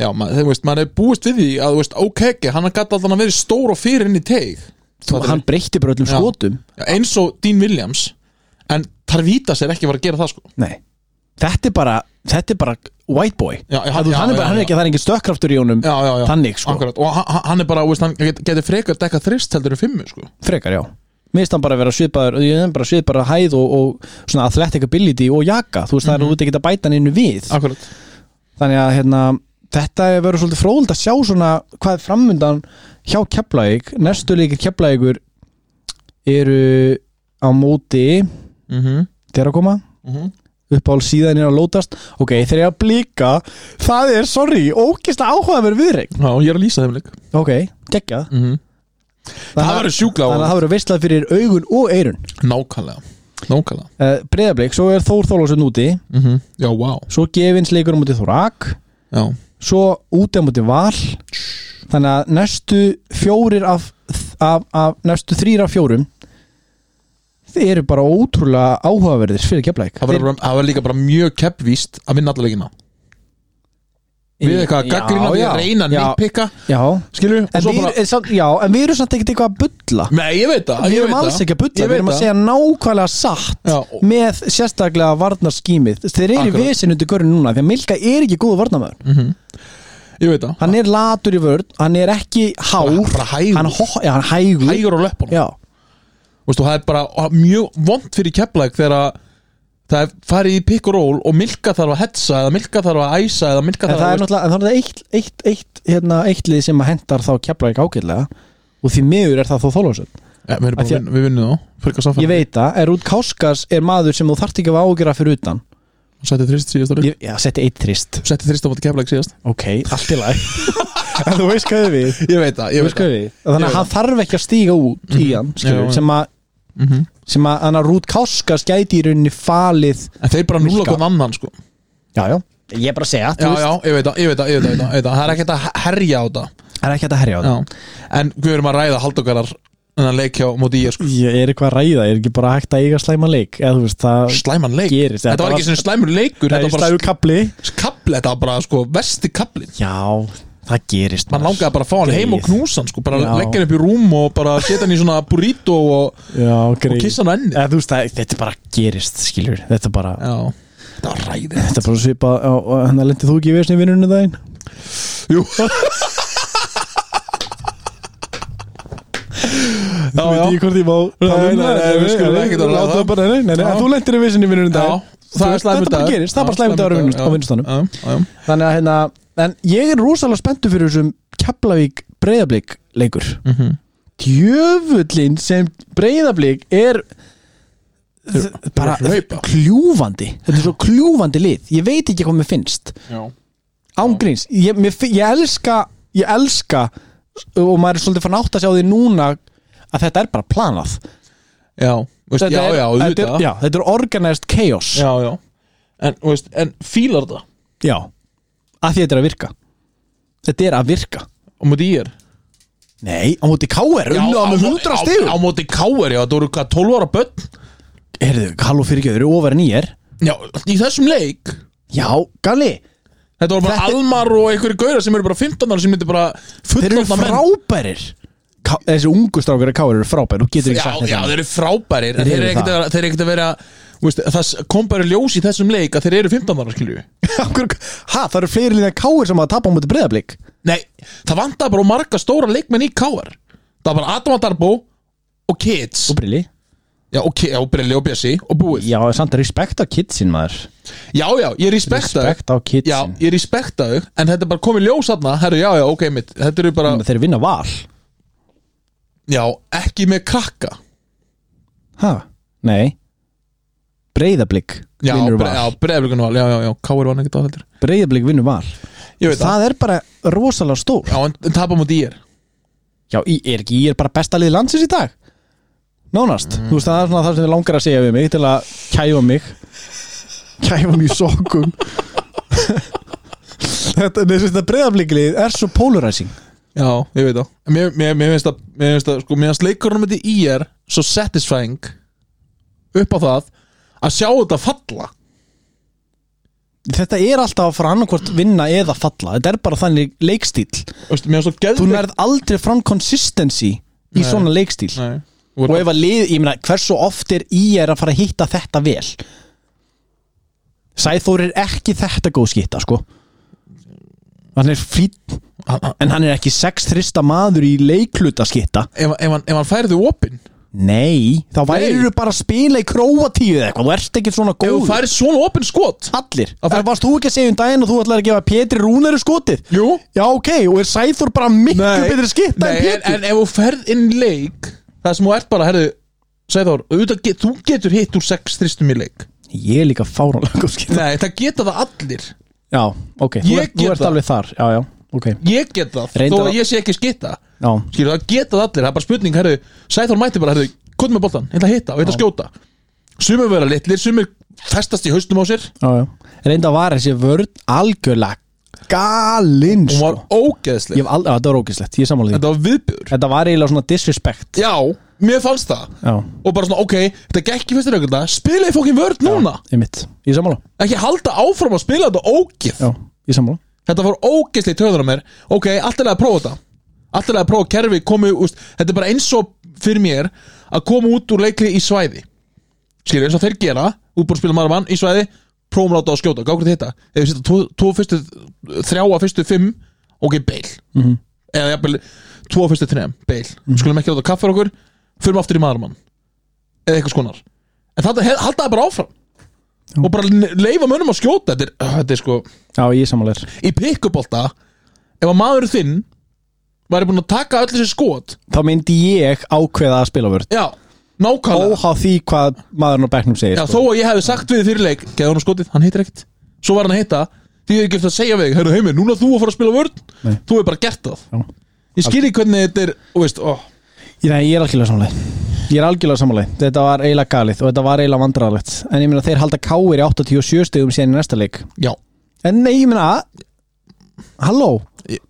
B: já maður, þeir, veist, maður er búist við því að þú veist, ok, ekki, hann gæti alltaf að vera stór og fyrir inn í teig
A: Þú, hann breytti bara öllum
B: Já.
A: skotum
B: Já, eins og Dean Williams en Tarvítas er ekki að fara að gera það sko
A: Nei Þetta er bara, þetta er bara white boy
B: Já, já,
A: Að þú-
B: já,
A: hann, er
B: já,
A: bara, hann
B: já.
A: er ekki, það er engin stökkraftur í honum
B: já, já, já.
A: Þannig, sko.
B: Akkurat. og hann, hann er bara, veist, hann get- getur frekar dekka þrist heldur en fimmu sko.
A: frekar, já Mér finnst hann bara að vera svipaður, ég er bara svipaður að hæð og, og svona athletic ability og jaka þú veist
B: Mhm.
A: það er nú út ekki að bæta hann innu við
B: akkurat
A: þannig að hérna, þetta er verið svolítið fróðult að sjá svona hvað er framundan hjá Keflavík, næstu leikir Keflavíkur eru á móti
B: mm -hmm.
A: þegar að koma
B: mhm.
A: uppál síðan er að lótast ok, þeir eru að blika það er, sorry, ókista áhugaverð viðreik
B: já, ég er að lýsa þeim leik
A: ok, geggjað
B: mm -hmm. það verður sjúkla
A: þannig að það verður veislað fyrir augun og eirun
B: nákvæmlega nákvæmlega
A: uh, breyðablík, svo er Þór Þólasund úti
B: mm já, wow
A: svo gefins leikur á móti Þórak
B: já.
A: svo úti á móti Val þannig að næstu fjórir af, af, af næstu þrýra fjórum þeir eru bara ótrúlega áhugaverðir fyrir keflæk
B: það verður bara- það verður líka bara mjög keppvíst að vinna alla leikina við eitthvað að gaggrina við að reyna að
A: já,
B: nýpikka
A: já.
B: skilur, og
A: En,
B: svo
A: við,
B: bara
A: bara... samt, já, en við erum samt ekkert eitthvað að bulla
B: Nei, ég veit það,
A: Við
B: ég
A: erum
B: veit
A: alls
B: það
A: ekki að bulla,
B: Ég
A: við
B: veit
A: erum að
B: það.
A: segja nákvæmlega satt
B: Já, og-
A: með sérstaklega varnarskýmið þeir eru í
B: Akkurat. Mhm.
A: vesin undir görun núna því að Milka er ekki góð varnarmöður
B: Ég veit það
A: hann er latur í vörn, hann er ekki hár
B: Bara- bara hægur.
A: hann, ho, já, hann hægur,
B: Hægur á löpunum
A: Já,
B: Veistu, það er bara og mjög vond fyrir keplæk þegar að það er farið í pick og roll og milka þarf að hetsa eða milka þarf að æsa eða milka
A: en
B: þarf
A: það er
B: að
A: náttúrulega en það er eitt, eitt, eitt, hérna, eitt lið sem að hendar þá kepla ekki ágætlega og því miður er það þá þólausöld
B: ja, Eh, við, erum
A: Af því að-
B: bara vinn, við vinnum þá, frekar
A: ég
B: samfæðan
A: veit það, er út Káskas er maður sem þú þarft ekki að ágæra fyrir utan
B: setti þrist síðast
A: ég, já, setti eitt trist
B: setti þrist á móti keplæk síðast
A: ok, allt í lag
B: <laughs>
A: en þú veist hvað við
B: ég veit það, ég
A: Þú
B: veit
A: veist hvað
B: það
A: við þannig
B: Ég veit
A: að hann þarf ekki að stíga út í hann skilur,
B: Já, já.
A: sem að
B: mm
A: sem að hann að Rút Káskas gæti í rauninni falið
B: en þeir bara núla
A: Milka.
B: hvern annan sko já,
A: já, já, ég er bara að segja þú veist,
B: já, ég veit það, ég veit það, ég veit það, ég veit það það er ekkert að herja á það
A: það er ekki hægt að herja á
B: já.
A: það
B: en við erum að ræða haldokarar en að leikja á móti ég sko
A: ég er eitthvað að ræða, ég er ekki bara hægt að eiga slæma leik eða þú veist, það
B: slæman leik,
A: Gerist,
B: þetta
A: þetta
B: var
A: var-
B: ekki svona slæmur
A: það
B: leikur þetta
A: er
B: var bara
A: slægur kapli
B: kapli, þetta var bara sko vesti kaplin
A: já, það gerist
B: Man langaði bara að fá hann heim og
A: Greyið.
B: knúsa hann sko, bara
A: Ah, Já.
B: leggja hann upp í rúm og bara setja hann í svona burrito og,
A: já,
B: og
A: greið
B: kissa hann á enni
A: eða þú veist, það, þetta bara gerist, skilur þetta bara,
B: Já, það var ræði
A: þetta bara svipa hann að lendi hérna þú ekki í vesni vinnunni um daginn
B: Jú Já,
A: Þú
B: já,
A: veit ég hvort ég má um
B: Nei, nei, nei, við skulum
A: Nei,
B: ekki
A: nei,
B: tala um
A: láta
B: það.
A: það bara- nei, nei, nei,
B: Já.
A: en Þú lendir í vissinni vinnunum
B: já
A: dag
B: Það er slæmur
A: Þetta bara
B: dagur.
A: gerist, það er bara
B: Já,
A: slæmur dagur á
B: dagur,
A: vinnust-
B: já.
A: á vinnustanum
B: Já, já, já.
A: Þannig að hérna En ég er rosalega spenntu fyrir þessum Keflavík breyðablík leikur
B: Mhm.
A: Djöfullin sem breyðablík er þ- bara
B: að hlaupa.
A: kljúfandi Þetta er svo kljúfandi lið Ég veit ekki hvað mér finnst
B: Já.
A: Ángríns, ég, mér, fi- ég elska Ég elska Og maður er svolítið fann átt að sjá því núna Að þetta er bara planað
B: Já,
A: er,
B: veist, já, já,
A: þetta,
B: auðvitað
A: er, já, þetta er organized chaos
B: Já, já En, þú veist, en fílar þetta
A: Já. Af því þetta er að virka Þetta er að virka
B: á móti ég er
A: Nei, á móti KR, unnu á með 100
B: Á
A: stigum
B: móti káir, já, það voru hvað, 12 ára börn
A: Herðu, kall og fyrirgjöður eru ofar en ég er
B: Já, í þessum leik
A: Já, galli,
B: Þetta voru bara
A: Þetta-
B: almar og einhverju gauðar sem eru bara 15 ára sem myndi bara
A: þeir eru
B: fullorðna menn
A: frábærir Ká, Þessi ungu strákar í KR eru frábærir Þú getur ekki
B: Já,
A: sagt
B: já,
A: þetta
B: þeir eru frábærir en
A: Þeir
B: þeir eru
A: eru það.
B: ekkert að vera- þeir eru ekkert að vera þú veist, það kom bara í ljós í þessum leik að þeir eru 15 ára skilju
A: <laughs> Af hverju- Ha, það eru fleiri líðan KR sem að tapa á móti breyðablík
B: Nei, það vantaði bara á marga stóra leikmenn í káar Það var bara Adam Adarbo og Kids
A: Og brilli
B: Já, og, Ki- já, og Brilli og Bjössi og búið Já,
A: Já, samt að respekta kitsin maður
B: já, ég respekta þau
A: Respekta á
B: Já,
A: kitsin
B: ég respekta þau En þetta er bara komið ljós aðna Herru, já, já, ok, mitt Þetta eru bara,
A: Þeir vinna val
B: já, ekki með krakka
A: Ha, nei Breyðablík
B: Já,
A: vinnur
B: bre, já
A: val
B: breyðablikan val, já, já, já, Káir vann ekkert á heldur
A: Breyðablík vinnur val
B: Ég veit það,
A: Það er bara rosalega stór
B: já, en- en tapa mútið ég er
A: Já, í- er ekki ég er bara besta lið landsins í dag Nánast, þú veist það er svona það sem þið langar að segja við mig til að kæfa mig kæfa mig í sokkum Þetta, nei, þetta breyðafliklið er svo polarizing
B: Já, ég veit það En Mér, mér, mér finnst að, mér finnst að, sko, mér finnst leikurinn með í er Svo satisfying Upp á það Að sjá þetta falla
A: Þetta er alltaf að fara annarkvort vinna eða falla Þetta er bara þannig leikstíl
B: Veistu, Mér finnst svo
A: Þú
B: geðveikt-
A: nærð aldrei fram consistency í
B: Nei.
A: svona leikstíl
B: Nei
A: Og ef að lið, ég meina, hversu oft er í er að fara að hitta þetta vel Sæþór er ekki þetta góð skýta sko hann er fýt
B: Hann- hann-
A: en hann er ekki sex þrista maður í leikluta skýta
B: ef, ef, hann, ef hann færði opinn
A: nei, þá
B: Nei.
A: værirðu bara að spila í króatíu eða eitthvað, þú ert ekki svona
B: ef hann
A: góð
B: færði svona opinn skot
A: allir,
B: Þá fær-
A: það varst þú ekki að segja um daginn og þú ætlar að gefa Pétri Rúnari skotið
B: Jú
A: já ok, og er Sæþór bara miklu betri skýta en
B: Nei, en,
A: Pétur
B: en ef þú ferð inn í leik það sem þú ert bara, herðu Sæður, get, þú getur hitt úr sex þristum í leik
A: ég er líka fáránlega góð skýta
B: Nei, það geta það allir
A: já, ok, þú,
B: Ég
A: ert, þú
B: get
A: ert
B: það.
A: alveg þar já, já, ok,
B: Ég get það,
A: Reyndar
B: þó
A: að-
B: að ég sé ekki skita
A: já
B: Skilur, það geta það allir, það er bara spurning herðu, Sæður mætti bara, herðu, hvað með boltan, hérna hitta og hérna skjóta Sumir vera litlir, sumir festast í haustum á sér
A: Já, já. Reynda var þessi vörn algjörlega galinn
B: Hún var
A: sko.
B: ógeðsleg
A: Ég hef al- já, Þetta var ógislegt, ég sammála því
B: Þetta var viðbjör
A: Þetta var eiginlega svona disrespect
B: Já, mér fannst það
A: Já,
B: Og bara svona, ok, þetta gekk í fyrstu reglunda Spilaði fókin vörð núna
A: ég mitt, ég sammála
B: Ekki halda áfram að spila þetta ógeð
A: Já, ég sammála
B: Þetta fór ógeðslega í töðunar á mér Ok, alltaf að prófa þetta Alltaf að prófa kerfi komi, úst, Þetta er bara eins og fyrir mér Að koma út úr leikli í svæði Skilur eins og þeir gera Útbúr spila maður mann í svæði Prófum láta á að skjóta, gákrið hitta Ef við setja tvo, tvo fyrstu, þrjá að fyrstu fimm Ok, beil
A: Mhm.
B: Eða jafnvel, tvo af fyrstu þrjum, beil Skulum ekki láta kaffar okkur Fyrir aftur í maður mann Eða eitthvað skonar En þetta he- halda það bara áfram Og bara leifa mönnum að skjóta Þetta er, þetta er sko
A: Já, ég sammála þér
B: í pikkupolta ef að maður þinn væri búin að taka öll þessi skot
A: Þá myndi ég ákveða að spila vörn
B: já, nákvæmlega
A: Óhá því hvað maðurinn á bekknum segir
B: já, þó
A: sko.
B: að ég hefði sagt við þig fyrir leik geða hann skotið, hann heitir ekkert svo var hann að heita, því ég hef gert að segja við þig hörru heimir, núna þú að fara að spila vörn
A: Nei.
B: þú hefur bara gert það
A: Já.
B: ég skýri hvernig þetta er, og veist, ó,
A: Ég- Nei, ég er algjörlega sammála því. Ég er algjörlega sammála því. Þetta var eiginlega galið og þetta var eiginlega vandræðalegt En ég meina þeir halda káir í 87 stegum síðan í næsta leik
B: já,
A: En nei, ég meina Halló
B: Ég-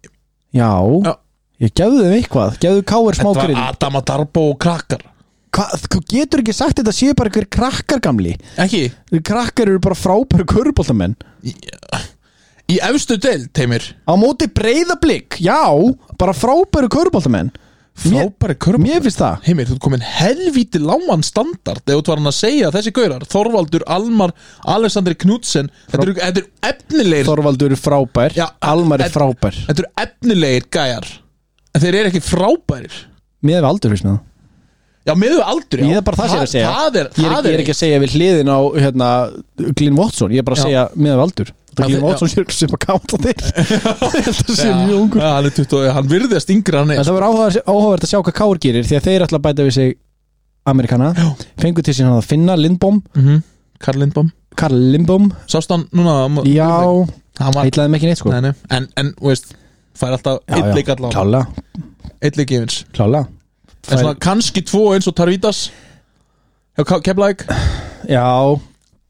A: Já,
B: Já.
A: Ég gefðu þeim eitthvað, gefðu káir smá
B: þetta var
A: krydd
B: Adam að darbo og krakkar
A: Hvað, þú getur ekki sagt þetta séu bara einhver krakkar gamli
B: ekki,
A: Krakkar eru bara frábæru körubóltamenn
B: í efstu deild, heimir
A: Á móti breyðablík, já Bara frábæru körubóltamenn Mér-
B: frábæri körm
A: Mér finnst það
B: Heimir, þú ert komin helvíti lágan standard eða þú var hann að segja að þessi gaurar Þorvaldur, Almar, Alexander Knudsen Þetta eru- þetta eru efnilegir
A: Þorvaldur er frábær,
B: Já,
A: Almar er
B: en-
A: frábær
B: Þetta eru efnilegir gæjar En þeir eru ekki frábærir
A: Mér hef aldrei finnst með það
B: Já, miður aldrei
A: Ég er bara það sem ég er að segja
B: Það er,
A: ég, er,
B: það
A: ég er ekki að segja við hliðin á hérna, Glyn Watson, ég er bara að
B: Já.
A: segja með aldur
B: Já,
A: Það Glyn
B: þi-
A: Watson sé sem að káta þér <laughs> Þetta sé mjög ungur
B: Já, hann, er 20, og- hann virðist yngri en hann
A: En
B: er
A: það verður áhugaverð- áhugavert að sjá hvað Kár gerir því að þeir ætla að bæta við sig Amerikana
B: Já.
A: fengu til sín hann að finna Lindbom
B: mm -hmm. Karl Lindbom
A: Karl Lindbom,
B: Sást hann núna um-
A: já
B: Hann var
A: heitlaði ekki neitt sko
B: Nei, nei. En, en, þú veist Fær alltaf
A: Já,
B: eitt
A: já.
B: leik allan
A: klála,
B: Eitt leik yfins
A: klála
B: En svona kannski tvo eins og Tarvitas Já, Keflæk
A: Já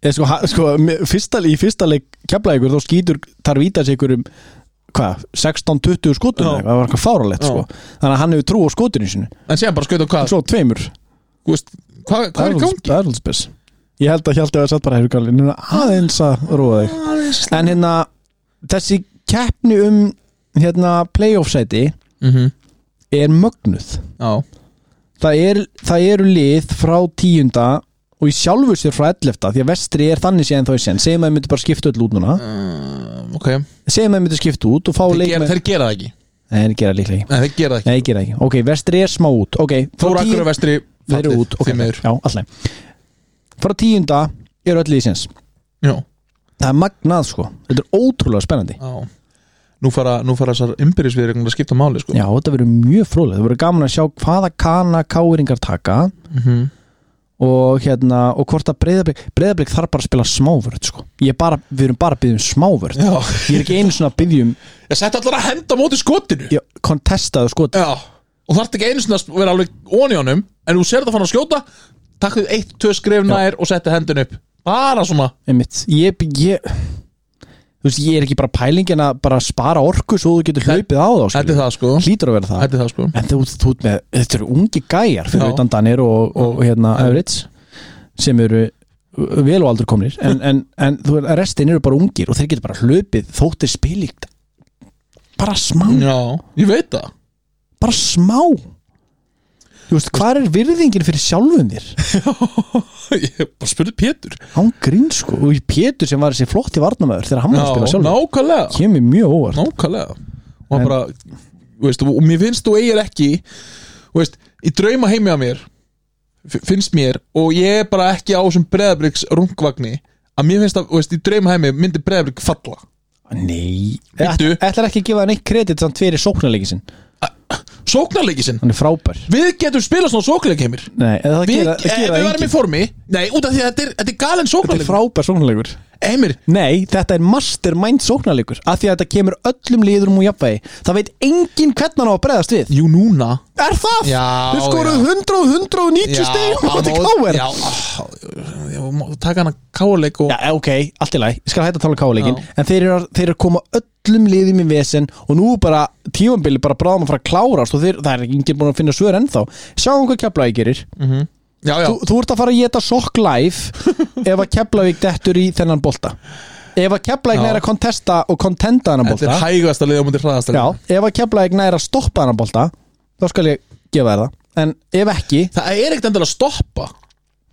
A: eða sko, ha- sko me- fyrsta, í fyrsta leik keflaði ykkur þá skýtur Tarvítas ykkur um hvað, 16-20 skotum eða eitthvað,
B: Já.
A: það var eitthvað fáralegt
B: Já.
A: sko þannig að hann hefur trú á skotinu sinu
B: En síðan bara skauta á hvað
A: svo tveimur,
B: Þú veist, Hvað hva er í
A: alveg-
B: gangi?
A: það er alveg spes ég held að Hjalti að satt bara hefur galið núna aðeins að rúa þig en hérna, þessi keppni um hérna playoff sæti
B: Mm -hmm.
A: er mögnuð
B: Já,
A: það, er, það eru lið frá tíunda og í sjálfu sér frá 11 því að vestri er þannig séðan þá í sen segjum að þið myndu bara skipta öll út núna
B: um, ok
A: segjum að þið myndu skipta út og fá
B: þeir
A: leikmenn
B: gera, þeir gera það ekki
A: nei, þeir gera líklega ekki
B: Nei, þeir gera það ekki
A: nei, þeir gera ekki ok, vestri er smá út ok, frá
B: Þóra
A: tíu-
B: akkur og vestri
A: þeir eru út ok,
B: Þeim er
A: já, alltaf frá tíunda eru öll liðsins
B: Já,
A: það er magnað sko þetta er ótrúlega spennandi
B: já Nú fara, nú fara þessar umbyrðisviðir að skipta máli sko
A: já, þetta verður mjög fróðlega það verður gaman að sjá hvaða kana káringar taka
B: Mhm.
A: og hérna og hvort að breyðablik breyðablik þarf bara að spila smávörð sko ég er bara, við erum bara að byggja um smávörð
B: Já
A: ég er ekki einu svona að byggja um
B: Ég sett allar að henda á móti skotinu
A: ég kontestaðu sko
B: Já Og þarf ekki einu sinni að vera alveg ón í honum En þú sér það fann að skjóta Takk þið eitt, tvö skref nær og setti hendin upp Bara svona
A: einmitt, ég, ég þú veist, ég er ekki bara pælingin að bara spara orku svo þú getur hlaupið á þá
B: Þetta
A: skilur.
B: er það sko
A: hlýtur að vera það
B: Þetta er það sko
A: en þú, þú ert með, þetta eru ungi gæjar fyrir
B: Já.
A: utan Danir og, og hérna Övrits sem eru vel og aldur komnir en, en, en þú- restin eru bara ungir og þeir getur bara hlaupið þótt er spilíkt bara smá,
B: Já, ég veit það
A: bara smá Þú veist, hvað er virðingin fyrir sjálfum þér?
B: <laughs> ég bara spurði Pétur
A: Án grín sko Og Pétur sem var þessi flotti varnamöður þegar hann var að spila
B: Já,
A: sjálfur
B: nákvæmlega
A: kemur mjög óvart
B: nákvæmlega og hann
A: En-
B: bara, þú veist, og mér finnst þú eigir ekki þú veist, í drauma heimi að mér f- finnst mér og ég er bara ekki á þessum breðabriks rungvagni að mér finnst að, þú veist, í drauma heimi myndi breðabrik falla
A: Nei
B: Bíddu.
A: Ætlar ekki að gefa hann eitt kredit samt fyrir sóknarleiki sinn
B: sóknarleiki sinn,
A: Hann er frábær
B: við getum spilað svona sóknarleiki heimir
A: Nei, en það
B: við,
A: gera,
B: ef
A: það
B: eh, við
A: gera það
B: varum í
A: engin
B: formi nei, út af því að þetta er, þetta er galen
A: Þetta er
B: sóknarleiki
A: frábær sóknarleikur
B: heimir,
A: Nei, þetta er mastermind sóknarleikur af því að þetta kemur öllum liðurum úr jafnvægi Það veit enginn hvernig hann á að breyðast við
B: jú núna
A: Er það?
B: Já,
A: Þau skoruðu 100 190 stegum á móti káver
B: já,
A: já.
B: á, já, má taka hana káleik og
A: eh, ok, allt í læg Ég skal hætta að tala um káleikin
B: Já.
A: En þeir eru, að- þeir eru að koma öllum liðum í vesen Og nú bara tífambili bara bráðum að fara að klárast Og þeir, það er enginn búin að finna svör ennþá Sjáum hvað keflaði gerir
B: já, já,
A: þú, þú ert að fara að geta sokk
B: <laughs>
A: live Ef að keflavík dettur í þennan bolta Ef að keflavík
B: Já.
A: næra að kontesta Og kontenda þennan
B: þetta
A: bolta
B: er hægast að liða á mútið hraðast
A: Já, ef að Keflavík næra að stoppa hann að bolta þá skal ég gefa þér það en ef ekki,
B: það er ekkert endilega að stoppa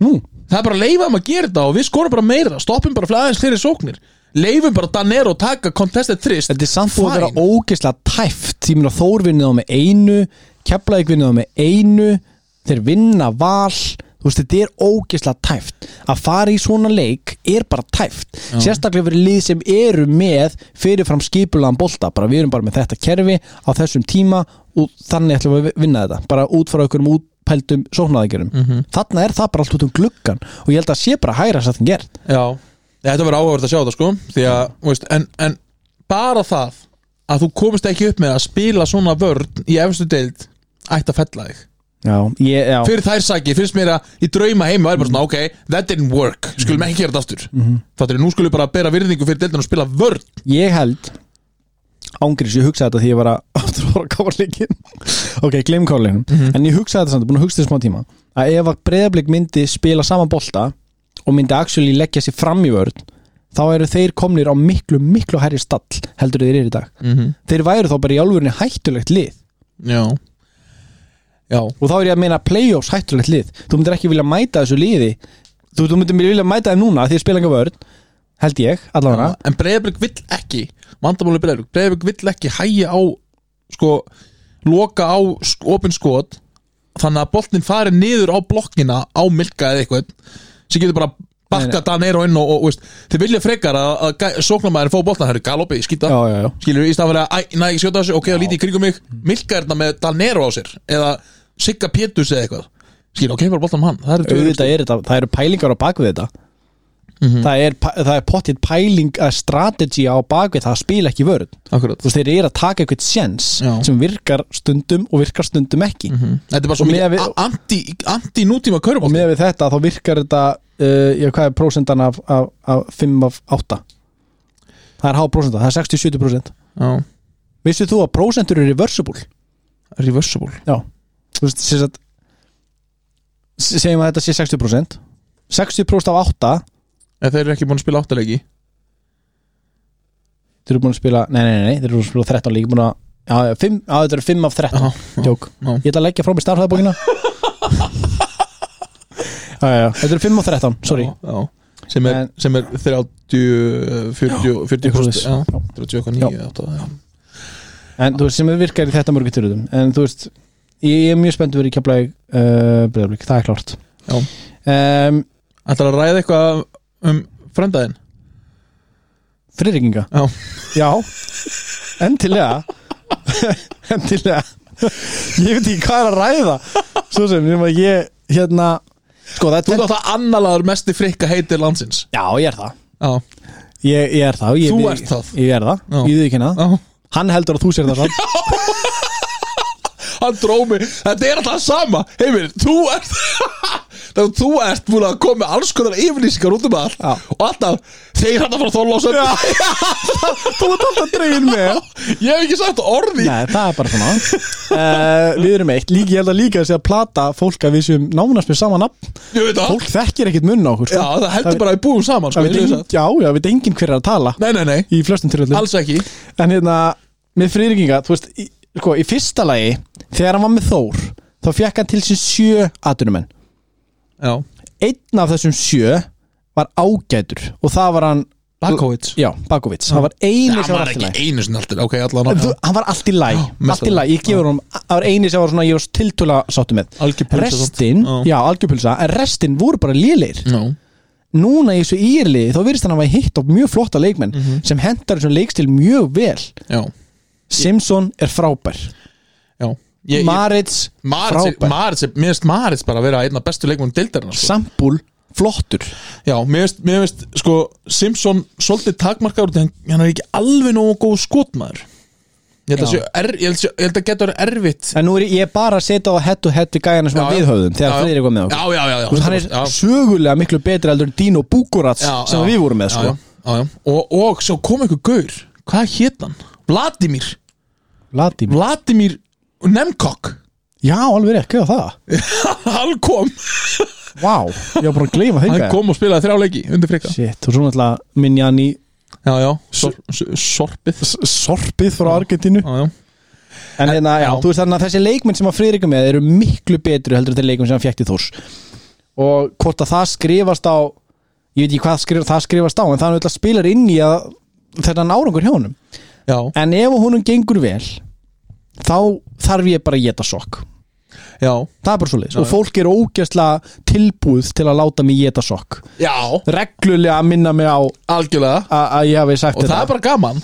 A: nú
B: það er bara að leifa um að gera þetta og við skorum bara meira stoppum bara flæðins fyrir sóknir leifum bara Danero að taka contested þrist
A: Þetta er samt búið að
B: Fine.
A: vera ógeðslega tæft ég meina Þór vinnið á með einu Keflavík vinnið á með einu þeir vinna val þú veist, þetta er ógeðslega tæft að fara í svona leik er bara tæft sérstaklega fyrir lið sem eru með fyrirfram skipulaðan bolta bara við erum bara með þetta kerfi á þessum tíma og þannig ætlum við að vinna þetta bara út frá einhverjum útpældum sóknaðegjörum þarna er það bara allt út um gluggan og ég held að sé bara hægra sættin gert
B: Já, ja, þetta verður áhverð að sjá þetta sko því að, þú veist, en, en bara það að þú komist ekki upp með að spila svona vörn í efstu deild ætti að fella þig
A: já, ég, já.
B: fyrir þær saki, finnst mér að í drauma heimi væri bara svona, ok, that didn't work skulum ekki gera þetta aftur mm
A: Mhm.
B: -hmm. þannig nú skulum við bara bera virðingu fyrir deildin og spila vörn
A: ég held ángriðs, ég hugsaði þetta því ég var að <laughs> aftur að horfa káleikin ok, gleym káleikin en ég hugsaði þetta samt, búin að hugsa þetta smá tíma að ef að breyðablík myndi spila saman bolta og myndi actually leggja sér fram í vörð þá eru þeir komnir á miklu, miklu herri stall heldur þeir eru í dag
B: mm -hmm.
A: þeir væru þá bara í alvörinni hættulegt lið
B: Já Já,
A: og þá er ég að meina playoffs hættulegt lið þú myndir ekki vilja mæta þessu liði þú, þú myndir vilja mæta þeim núna af því þeir spila enga vörð held ég, allavega
B: en Breiðabrygg vill ekki vandamáli Breiðabrygg, Breiðabrygg vill ekki hægja á sko, loka á sk opin skot þannig að boltinn fari niður á blokkina á milka eða eitthvað sem getur bara bakka Danero inn og, og veist, þeir vilja frekar að, að gæ- sóknarmaðurinn fá boltan, það eru galopi, skýta
A: já, Mm. já, já.
B: skilur í staðfæri að, æ, næ, ég skjóta þessu, ok, það lítið í kringum mig milka er þetta með Danero á sér eða Sigga Pétus eða eitthvað skilur, ok, bara boltan um hann, það eru
A: auðvitað er Mhm. þetta, það eru pælingar á bakvið þetta það, er, pæ- það er pottitt pæling að strategy á bakvið það að spila ekki vörð
B: Akkurat.
A: þú veist þeir eru að taka eitthvað sjens
B: Já.
A: sem virkar stundum og virkar stundum ekki
B: Mhm. þetta er bara svo
A: Og miðað
B: mikið
A: við-
B: a- anti- anti-nútíma
A: og
B: körubolt
A: með við þetta þá virkar þetta uh, já, hvað er prósentan af, af, af 5 af 8 það er há prósenta, það er 60-70% vissið þú að prósentur eru reversible
B: reversible
A: já, þú veist sem sagt, se- segjum að þetta sé 60% 60% af 8
B: En Eh, þeir eru ekki búin að spila áttalegi
A: Þeir eru búin að spila, nei, nei, nei, nei, þeir eru búin að spila 13 líka búin að, já, já, fimm, já, þetta eru 5 af 13 Jók,
B: já.
A: ég ætla að leggja frá mér starfhæðabókina Já, já, já, þetta eru 5 af 13, sorry
B: já, já. Sem, er,
A: En-
B: sem er eh, 30 40, 40
A: eitthvað
B: kost,
A: svoleiðis.
B: já,
A: Já.
B: 30 eitthvað 9 já.
A: En þú veist, sem virkar í þetta mörgu tyruðum En þú veist, ég, ég er mjög spennt verið í keflaði uh, breyðablík, það er klárt
B: Já.
A: um,
B: Ætlar að ræða eitthvað um frendaðinn
A: Friðrikinga
B: Já.
A: Já, endilega <laughs> Endilega Ég veit ekki hvað er að ræða Svo sem, nema ég, hérna Sko,
B: Þú
A: þetta
B: ert alltaf annalaður mesti frikka heitir landsins
A: Já, ég er það
B: Já,
A: Ég, ég er það ég,
B: Þú
A: ég-
B: ert það.
A: Ég er það,
B: Já.
A: ég við ekki
B: já
A: það Hann heldur að þú sér
B: <laughs>
A: það samt
B: Hann dróð mig, þetta er alltaf sama Heimir, þú ert <laughs> Þegar þú ert búin að koma með alls konar yfirlýsingar út um allt
A: Já.
B: Og alltaf, þeir hann að fara að þóla á sönd
A: Þú ert alltaf dregin með
B: Ég hef ekki sagt orði
A: Nei, það er bara svona uh, Við erum eitt, líka, ég held að líka að segja að plata fólk að við séum nánast með sama nafn
B: Ég veit það
A: Fólk þekkir ekkit munna okkur
B: Já,
A: sko.
B: það heldur bara að við búum saman sko,
A: það veit
B: ég
A: engin,
B: hef sagt.
A: Já, já, við enginn hver er að tala
B: Nei, nei, nei,
A: Í flestum tilöldum
B: alls ekki
A: En hérna, með friðrikinga, þú veist í, sko, í fyrsta lagi, þegar hann var með Þór þá fekk hann til sér sjö atunumenn
B: já,
A: einn af þessum sjö var ágætur og það var hann
B: Blakovits
A: já, Bakovits, það var eini sem var allt í lagi
B: einu sinni alltaf, ok, allan á
A: En þú, hann var allt í læ,
B: Já,
A: allt í læ, ég gefur honum það var eini sem var svona, ég var tiltúla sáttu með
B: Algjör pulsa samt.
A: restin,
B: Já.
A: já, algjörpulsa en restin voru bara lélir
B: Já,
A: núna í þessu írliði þá virðist hann að hafa hitt á mjög flotta leikmenn
B: Mhm.
A: sem hendar þessum leikstil mjög vel
B: já,
A: Simpson er frábær
B: já Ég- ég-
A: Marits,
B: Maritz,
A: frábær
B: Maritz, er- mér finnst Maritz bara að vera einna bestu leikmum deildarinn sko.
A: Sambúl, flottur
B: Já, mér finnst, mér finnst, sko, Simpson svolítið takmarkaður, en hann er ekki alveg nógu góð skotmaður Ég held að
A: Já.
B: sé, er, ég held að sé- ég held að geta verið erfitt
A: en nú er ég bara að setja á hett og hett við gæjana sem
B: Já,
A: að
B: já.
A: við höfðum þegar
B: Já,
A: Friðrik var með okkur
B: Já, já, já, já
A: Þú veist, hann er
B: já.
A: sögulega miklu betri heldur en Dino Bukurats
B: Já,
A: sem
B: já.
A: við vorum með
B: Já,
A: sko.
B: já, já, já. Og, og svo kom einhver gaur Hvað hét hann? Vladimir
A: Vladimir.
B: Vladimir Nemkok
A: já, alveg ekki á það
B: Hann kom
A: Vá, ég var bara að gleyma þeim
B: Hann kom og spilaði þrjá leiki undir frika
A: Shit, og svo náttúrulega Minjani
B: Já, já, sor, sor- sorpið Já,
A: Sorpið frá Argentínu
B: já,
A: En hérna, já,
B: já.
A: þú veist þannig að þessi leikmenn sem að Friðrik er með eru miklu betri heldur en þeir leikmenn sem hann fjækti þús og hvort að það skrifast á ég veit ekki hvað skrif, það skrifast á en það er auðvitað spilar inn í að þennan árangur hjá honum
B: já,
A: en ef honum gengur vel þá þarf ég bara að geta sokk
B: já
A: það er bara svo leiðis
B: Já,
A: og fólk er ógjastlega tilbúð til að láta mig geta sokk
B: Já,
A: reglulega að minna mig á
B: algjörlega
A: að að ég hafi sagt
B: Og það
A: þetta
B: er bara gaman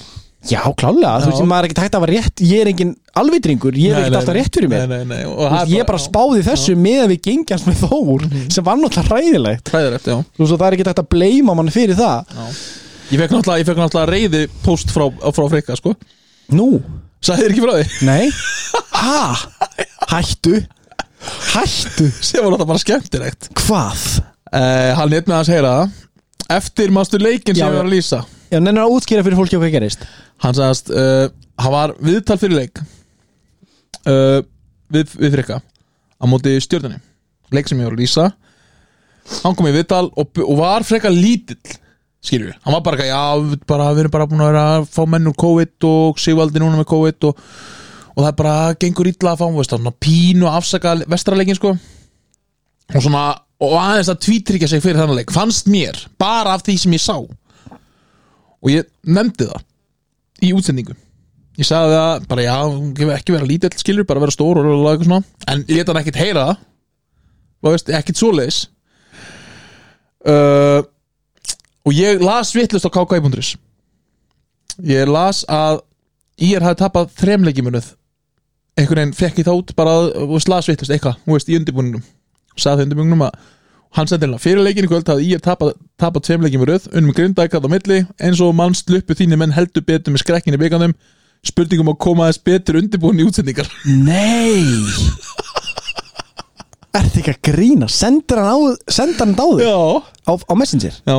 A: Já, klálega, þú
B: Já.
A: veist, maður er ekkert hægt að vera rétt Ég er engin alvitringur, ég er
B: Nei,
A: ekkert
B: nei,
A: alltaf
B: nei.
A: rétt fyrir mér
B: Nei, nei, nei og
A: Þú
B: það
A: veist, Ég er bara
B: já. Mhm.
A: spáði þessu með að við gengjast með Þór sem var náttúrulega ræðilegt
B: Hræðilegt, já
A: Þú veist, og það er ekkert hægt að bleima mann fyrir það
B: Ég fekk náttúrulega, ég fekk náttúrulega reyði post frá, frá Freyka, sko
A: Nú,
B: Sæðir ekki frá því <laughs>
A: nei Ha, hættu Hættu
B: Sem var náttúrulega bara skemmtilegt
A: Hvað?
B: uh, Hann neitt með að segja það Eftir mástu leikin sem
A: Já, já.
B: ég var að lýsa
A: Já, nennir að útskýra fyrir fólki á hvað gerist
B: Hann sagðast, uh, hann var viðtal fyrir leik uh, Við, við Freyka Á móti stjörnunni Leik sem ég var að lýsa Hann kom í viðtal og, og var freka lítill Skilur við, hann var bara, eitthvað, já, við bara, við erum bara búin að vera að fá menn úr COVID og Sigvaldi núna með COVID og, og það er bara, gengur illa að fá hann, veist, hann að pínu að afsaka vestraleikin, sko og svona, og aðeins að tvítryggja sig fyrir þennan leik, fannst mér, bara af því sem ég sá og ég nefndi það í útsendingu ég sagði það, bara já, hún gefur ekki vera lítill skilur, bara vera stór og rúlega eitthvað svona en leta hann ekkit heyra það og veist, ekkit svoleiðis uh, og ég las vittlust á KK.is ég las að ég hafði tapað þremleikimunuð einhvern veginn fekk ég þá út bara og las vittlust eitthvað, þú veist, í undirbúninum sagði það undirbúninum að hann sendi hérna fyrir leikin í kvöld að ég tapað tapa tveimleikin með röð unnum grindækað á milli eins og mann sluppu þínir menn heldur betur með skrekkin í byggandum spurningum að koma aðeins betur undirbúin
A: <laughs>
B: í útsendingar
A: Nei Er þið ekki að grína? Sendir hann á, sendir hann dáður
B: já,
A: á, á Messenger?
B: já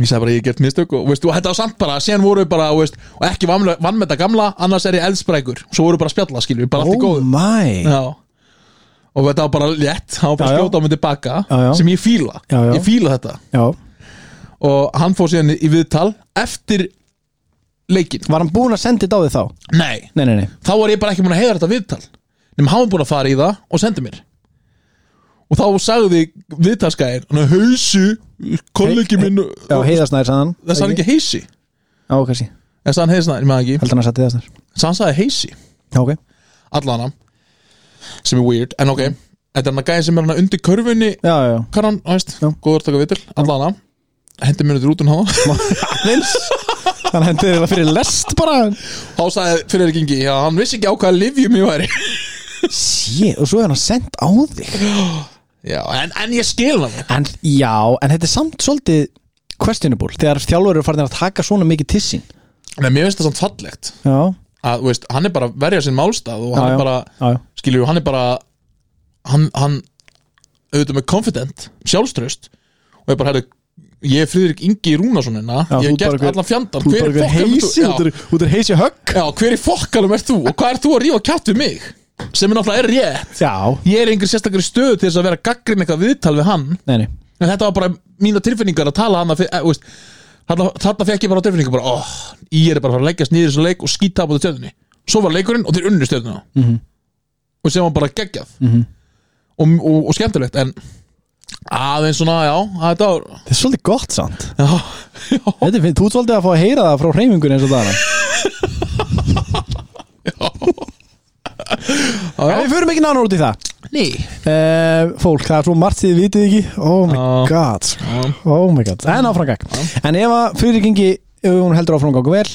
B: ég sagði bara ég hef gert mistök og, veist, og þetta var samt bara, síðan voru við bara veist, og ekki vann, vann með þetta gamla, annars er ég eldsbrækur svo voru við bara að spjalla, skilju, bara allt í
A: Oh
B: góðu
A: my
B: já og þetta var bara létt, hann var bara
A: Já,
B: að
A: já.
B: skjóta á mig tilbaka
A: Já, já.
B: sem ég fíla,
A: Já, já.
B: ég fíla þetta
A: Já.
B: og hann fór síðan í viðtal eftir leikin
A: Var hann búinn að senda þetta á þig þá?
B: Nei,
A: Nei, nei, nei
B: þá var ég bara ekki búin að heiða þetta viðtal nema hann var búin að fara í það og sendi mér og þá sagði viðtalskæðin hann er hausu, kollegi
A: Hei-
B: minn
A: Já, heiðarsnær sagðan
B: það sagði hann ekki heisi
A: Já, kannski
B: það sagði hann heiðisnæðin, maður ekki
A: Heldur hann að sætti heiðarsnær
B: Svo hann sagði heisi,
A: Já, ok
B: allana sem er weird, en
A: Mm.
B: ok þetta er hann að gæði sem er hann undir körfunni
A: Já, já,
B: hvað hann, þú veist,
A: Já.
B: góður taka viðtal allana, hendi mér undir út
A: <laughs>
B: um hann
A: já Vins Þannig hendur þér það fyrir lest bara
B: þá sagði fyrir ekki ingi, já, hann vissi ekki á hvaða livjum ég væri <laughs>
A: Sjé, og svo er hann sendt á þig
B: já, en, en ég skil hann
A: En, já, en þetta er samt svolítið questionable Þegar þjálfur eru farin að taka svona mikið til sín
B: en mér finnst það samt fallegt
A: Já,
B: að þú veist, hann er bara að verja sinn málstað og
A: Já,
B: hann
A: já.
B: er bara,
A: já, já
B: skilju, hann er bara hann, hann auðvitað með confident, sjálfströst og ég bara, herru, ég er Friðrik Ingi Rúnarssonina,
A: Já,
B: ég
A: þú
B: hef
A: ert bara
B: gert
A: einhver-
B: allan fjandan
A: Þú er bara
B: fokkanum
A: eitthvað heisi, þú
B: já,
A: er- þú er heisi högg
B: já, hver í fokkanum ert þú og hvað ert þú að rífa kjátt við mig sem er náttúrulega er rétt
A: Já,
B: ég er einhver sérstakari stöðu til þess að vera gaggrin eitthvað viðtal við hann
A: nei, nei
B: en þetta var bara mína tilfinningar að tala hann að, eh, veist, þarna, þarna fekk ég bara á tilfinningar bara, oh, ég er bara að fara að leggjast niður í þessu leik og skýta á búið stjörnunni svo var leikurinn og þeir unnu stjörnuna mm og sem var bara geggjað
A: mm
B: og, og, og skemmtilegt en aðeins svona, já, þetta var
A: Þetta er svolítið gott samt <laughs>
B: já, já,
A: Þetta finn, þú ert svolítið að fá að heyra það frá hreyfingun eins og það
B: já,
A: En
B: já.
A: við förum ekki nánar út í það
B: Ný.
A: uh, Fólk, það er svo margt því þið vitið ekki Oh my
B: Já.
A: god Oh my god, en áframgang En ef að fyrir gengi, ef hún heldur áframgang vel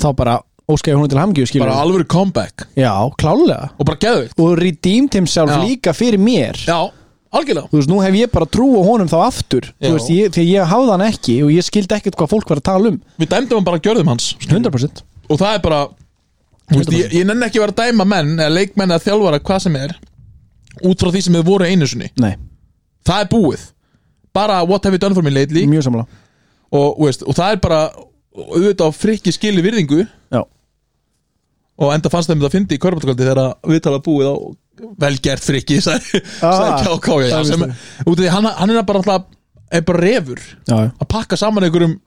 A: Þá bara óskæði hún til hamgju
B: bara alvöru comeback
A: Já, klálega
B: og bara geðvikt
A: Og redeemed himself
B: Já.
A: líka fyrir mér
B: já, algjörlega
A: Þú veist, nú hef ég bara trú á honum þá aftur Þú
B: Já.
A: veist, ég, því ég hafði hann ekki Og ég skildi ekkert hvað fólk var að tala um
B: við dæmdum hann bara að gjörðum hans
A: 100%
B: og það er bara þú veist, ég, ég nenni ekki að vera að dæma menn eða leikmenn eða þjálfara hvað sem er út frá því sem þið voru einu sinni
A: Nei,
B: það er búið bara what have you done for me lately
A: mjög samla
B: og, þú veist, og það er bara auðvitað á frikki skili virðingu
A: Já,
B: og enda fannst þeim þetta að fyndi í körbáttkvöldi þegar að viðtalað búið á velgert frikki <laughs> sagði
A: Ah,
B: sagði Kjá Kjá já,
A: það
B: sem, út af því hann, hann er bara alltaf er bara refur
A: já, já.
B: að pakka saman einhverjum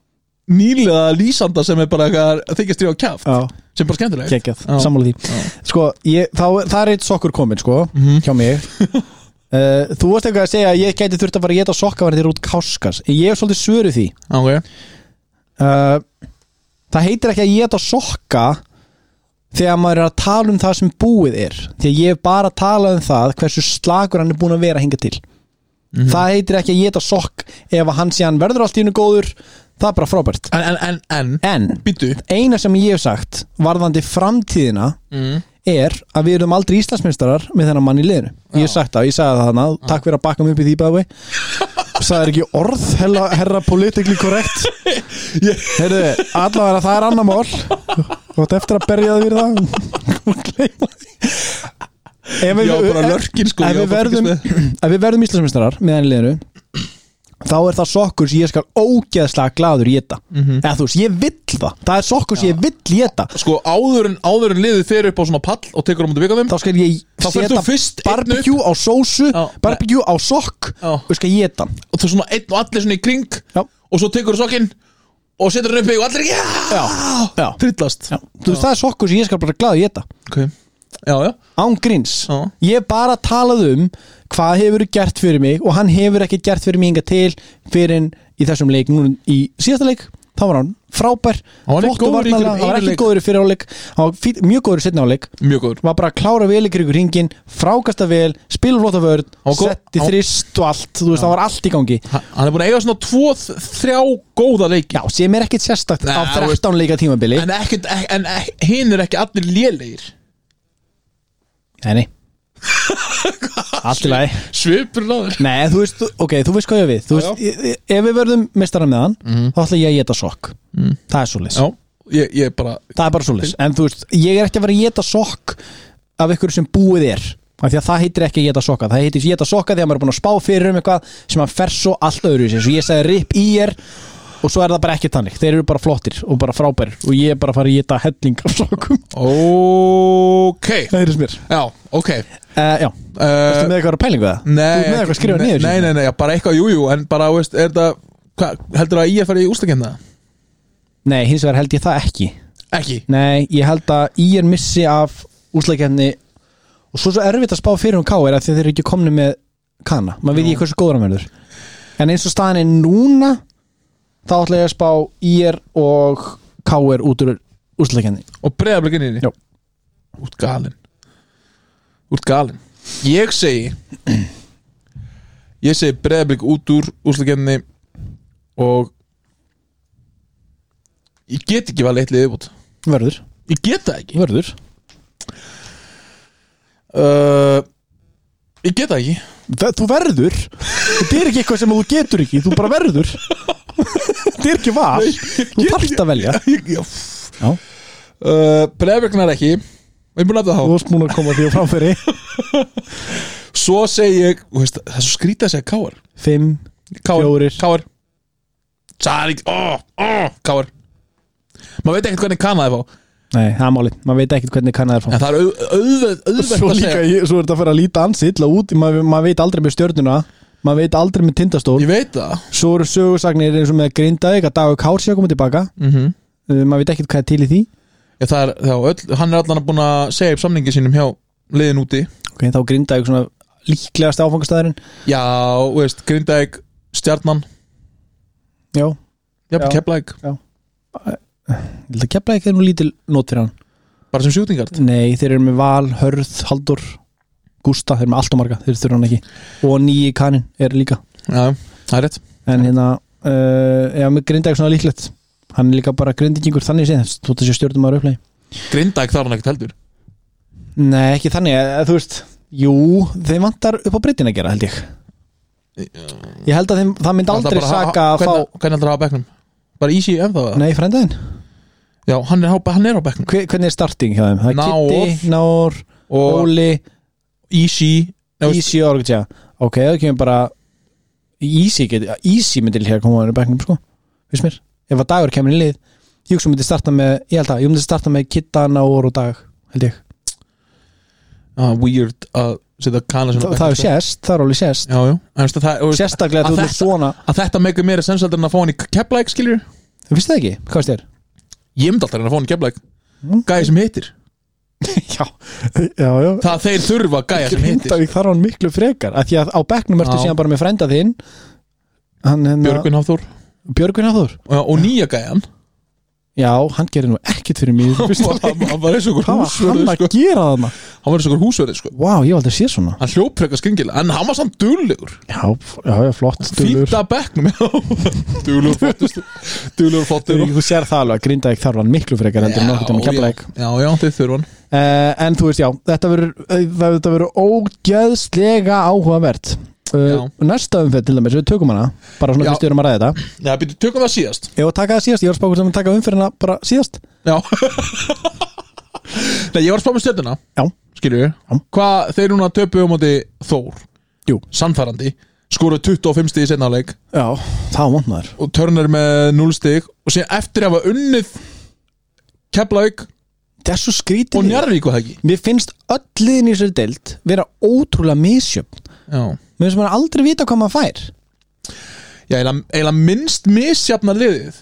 B: nýlega lýsanda sem er bara eitthvað að þykja stríða á kjaft
A: já.
B: sem er bara skemmtilegt
A: geggjað,
B: Já. Mhm.
A: sammála því sko, ég, þá, það er eitt sokkur komin sko, hjá
B: <laughs>
A: mig uh, þú varst eitthvað að segja að ég gæti þurft að fara að geta sokkavarðir út káskas ég hef svolítið svöru því
B: okay.
A: uh, það heitir ekki að geta sokka þegar maður er að tala um það sem búið er því að ég hef bara talað um það hversu slagur hann er búin að vera hinga til
B: Mhm.
A: það heitir ekki að geta sokk ef að hann sé hann verður allt í hennu góður það er bara frábært
B: en, en, en, en,
A: en
B: býttu
A: eina sem ég hef sagt varðandi framtíðina
B: mm.
A: er að við erum aldrei Íslandsmeistarar með þennan mann í liðinu ég hef sagt það, ég sagði það þannig takk fyrir að bakka mig upp í því bæði það er ekki orð, herra, herra politically correct heyrðu, allavega það er annar mál þú átt eftir að berja það fyrir það og gleyma því ef
B: ég var
A: við,
B: bara lörkin sko
A: ef
B: ég
A: við
B: var bara
A: verðum
B: fylgist með.
A: ef við verðum Íslandsmeistarar með hann í liðinu þá er það sokkur sem ég skal ógeðslega gladur í þetta
B: Mhm.
A: eða þú veist, ég vill það það er sokkur sem ég vill í þetta
B: sko áður en, áður en liðið fer upp á svona pall og tekur á mútið vikaðum
A: þá skal ég
B: Þá ferð þú fyrst einn
A: barbecue á sósu,
B: Já.
A: barbecue á sokk
B: Já.
A: og skal ég geta
B: og þú svona einn og allir svona í kring
A: Já.
B: og svo tekur þú sokkinn og setur hann upp í og allir já,
A: Já.
B: trillast
A: Já. þú veist það er sokkur sem ég skal bara glaða geta
B: Okay. já, já,
A: án gríns
B: Já.
A: ég hef bara talað um hvað hefur verið gert fyrir mig og hann hefur ekki gert fyrir mig inga til fyrir en í þessum leik núna í síðasta leik þá var hann frábær
B: Hann var ekki
A: flott og
B: góður í
A: varnarlega,
B: einhverjum
A: hann var
B: einum
A: ekki
B: leik.
A: góður í fyrir áleik hann var fín, mjög góður í setna áleik
B: mjög góður
A: var bara að klára vel ykkur ykkur ringin frákasta vel, spila flóta vörn
B: Hann var góð-
A: setti
B: hann-
A: þrist og allt þú veist það var allt í gangi
B: Ha- hann er búin að eiga svona tvo, þrjá góða leiki
A: Já, sem er ekkit sérstakt
B: Nei,
A: á
B: þú
A: 13 leika tímabili
B: en, ekkert, ek- en ek- hinn er ekki allir lélegir
A: Nei,
B: <laughs>
A: nei Allt í lagi
B: svipur laður
A: Nei, þú veist, ok, þú veist hvað ég á við Þú
B: Já, Mhm.
A: veist, ég- ég- ef við verðum mistara með hann þá ætla ég að geta sokk Það er svoleiðis,
B: Mm. já, ég, ég bara
A: það er bara svoleiðis En þú veist, ég er ekki að vera að geta sokk af ykkur sem búið er af því að það heitir ekki að geta sokka það heitir geta sokka því að maður er búin að spá fyrir um eitthvað sem að fer svo allt öðru eins og ég segi rip í er og svo er það bara ekki tannig þeir eru bara flottir og bara frábærir og ég er bara að fara að geta helling af sokkum <laughs>
B: ok
A: það er mér
B: já, ok
A: uh, Já,
B: uh,
A: Ertu með eitthvað pælingu það? Þú ert með eitthvað skrifað
B: Eh, nei,
A: niður
B: nei, nei, nei, já, bara eitthvað, jújú, jú, en bara, veist, er þetta hva, heldur að ég er farið í úslakefna?
A: Nei, hins vegar held ég það ekki
B: Ekki
A: Nei, ég held að í er missi af úsleikjarni og svo svo erfitt að spá fyrir um K.R. af því að þeir eru ekki komni með Kana maður veit ekki hversu góður hann verður en eins og staðan er núna þá ætla ég að spá í er og K.R. út úr úsleikjarni
B: Og breyðarblik inn í því
A: Já.
B: Út galinn Út galinn Ég segi Ég segi breyðarblik út úr úslakefni Og Ég get ekki valið eitt liðið út
A: Verður,
B: Ég get það ekki
A: verður
B: uh, Ég get það ekki <laughs>
A: Ver, Þú verður Þetta er ekki eitthvað sem þú getur ekki, þú bara verður Þetta er ekki val Þú þarft að velja
B: Ég- já.
A: Já.
B: Uh, Breiðarblik nær ekki Ég er búin að nefna það
A: Þú varst múin að koma því á framfæri
B: Svo segi ég, þú veist, það er svo skrítið að segja káar
A: 5,
B: Káar,
A: Fjórir.
B: káar Það er ekki, ó, ó, káar Maður veit ekkert hvernig kann það fá
A: nei, það er málið maður veit ekkert hvernig Kana er frá
B: En það er auð- auðveld, auðveld
A: svo
B: að
A: líka,
B: segja
A: ég, svo er þetta að fara að líta ansi illa út maður mað veit aldrei með stjörnuna maður veit aldrei með tindastól
B: Ég veit það
A: svo eru sögursagnir eins og með grindaðik að dagur Kár sé að koma tilbaka
B: mm -hmm.
A: uh, maður veit ekkert hvað er til í því
B: Ég, það er, þá, öll, Hann er allan að búin að segja upp samningi sínum hjá liðin úti
A: ok, þá grinda ykkur svona líklegast áfangastæðurinn
B: já, þú veist, Grindæk Stjarnan,
A: já,
B: já,
A: Já.
B: Keflæk
A: ég held að kepla ekki nú lítil nót fyrir hann
B: bara sem sjútingart
A: nei, þeir eru með Val, Hörð, Haldur Gústa, þeir eru með allt og marga, þeir þurfa hann ekki og nýji kaninn er líka
B: já, það er rétt
A: en hérna, uh, já, með grinda ykkur svona líklegt hann er líka bara grindingingur þannig séð þú þetta sé stjórnum að rauplegi
B: Grindæk þarf hann ekkert heldur
A: nei, ekki þannig, eh, þú veist jú, þeim vantar upp á breytin að gera, held ég ég held að þeim, það myndi aldrei
B: Alltaf bara ha-
A: saka að fá,
B: hvernig, hvernig heldur það á bekknum? bara Easy ennþá eða?
A: nei, frendaðinn
B: já, hann er, á- hann er á bekknum
A: Hver, hvernig er starting hjá þeim? Það er
B: Náor.
A: Kitty, Náor,
B: og
A: Óli,
B: Easy Nei, veist-
A: Easy og Orgja Ok, það kemur bara Easy, get, Easy myndi hér koma á þeirra bæknum sko Fyrst mér, ef að dagur kemur í lið Ég hugsa um myndi starta með, ég held að Ég myndi starta með Kitta, Náor og Dag Held ég,
B: ah, weird að setja kana
A: Þa, það er sérst, það er alveg sérst
B: já, já, en veistu það, sko. þú veist,
A: Sérstaklega
B: að
A: þú ert
B: þetta-
A: svona
B: að þetta meika meira sens heldur en að fá hann í keplæk skilur
A: Þú finnst það ekki, hvað veist þér?
B: ég myndi alltaf að reyna að fá hann í keplæk
A: Mm.
B: gæði sem hittir
A: <laughs> já, já, já
B: það þeir þurfa gæja sem hittir
A: Grindavík þarf hann miklu frekar að Því að á bekknum ertu
B: Já.
A: síðan bara með frænda þinn Hann hérna, hennar
B: Björgvin Hafþór
A: Björgvin Hafþór
B: og, og nýja
A: <laughs>
B: gæjan
A: Já, hann gerir nú ekkert fyrir
B: <laughs>
A: mig í þessum fyrsta leik.
B: hann hann var eins og
A: Hvað var hann
B: húsverði
A: að
B: sko.
A: gera þarna?
B: hann var eins og húsverði sko.
A: Vá, ég hef aldrei séð svona
B: hann hljóp frekar skringilega en hann var samt duglegur
A: Já, f- já, já flott
B: fýta bekknum
A: <laughs>
B: já. duglegur flottur duglegur flottur
A: Þú sér það alveg að Grindavík þarf hann miklu frekar heldur en nokkuð um
B: já,
A: keflaðik
B: já, já, þeir þurfa hann
A: uh, En þú veist, já, þetta verður eh, þetta verður ógeðslega áhugavert uh,
B: Já.
A: Næsta umferð til dæmis, við tökum hana bara svona
B: Já.
A: fyrst við erum að ræða þetta
B: já, byrju, tökum það síðast
A: Ég var að taka það síðast, ég var spákur sem að taka umferðina bara síðast
B: Já <laughs> Nei, ég var að spá með stjörnuna
A: Já.
B: Skilju
A: Já.
B: Hvað þeir núna töpu um átti Þór
A: Jú.
B: Sannfærandi Skoru 25 stig í setna leik
A: Já, það var montnaður
B: Og törnir með 0 stig Og síðan eftir að hafa unnið Keflavík
A: Það er svo
B: og
A: skrítið
B: Njarvík og það ekki
A: Mér finnst öll liðin í sér deild vera ótrúlega misjöfn
B: Já
A: Mér finnst maður aldrei vita hvað maður fær
B: Já, eiginlega eiginlega minnst misjafna liðið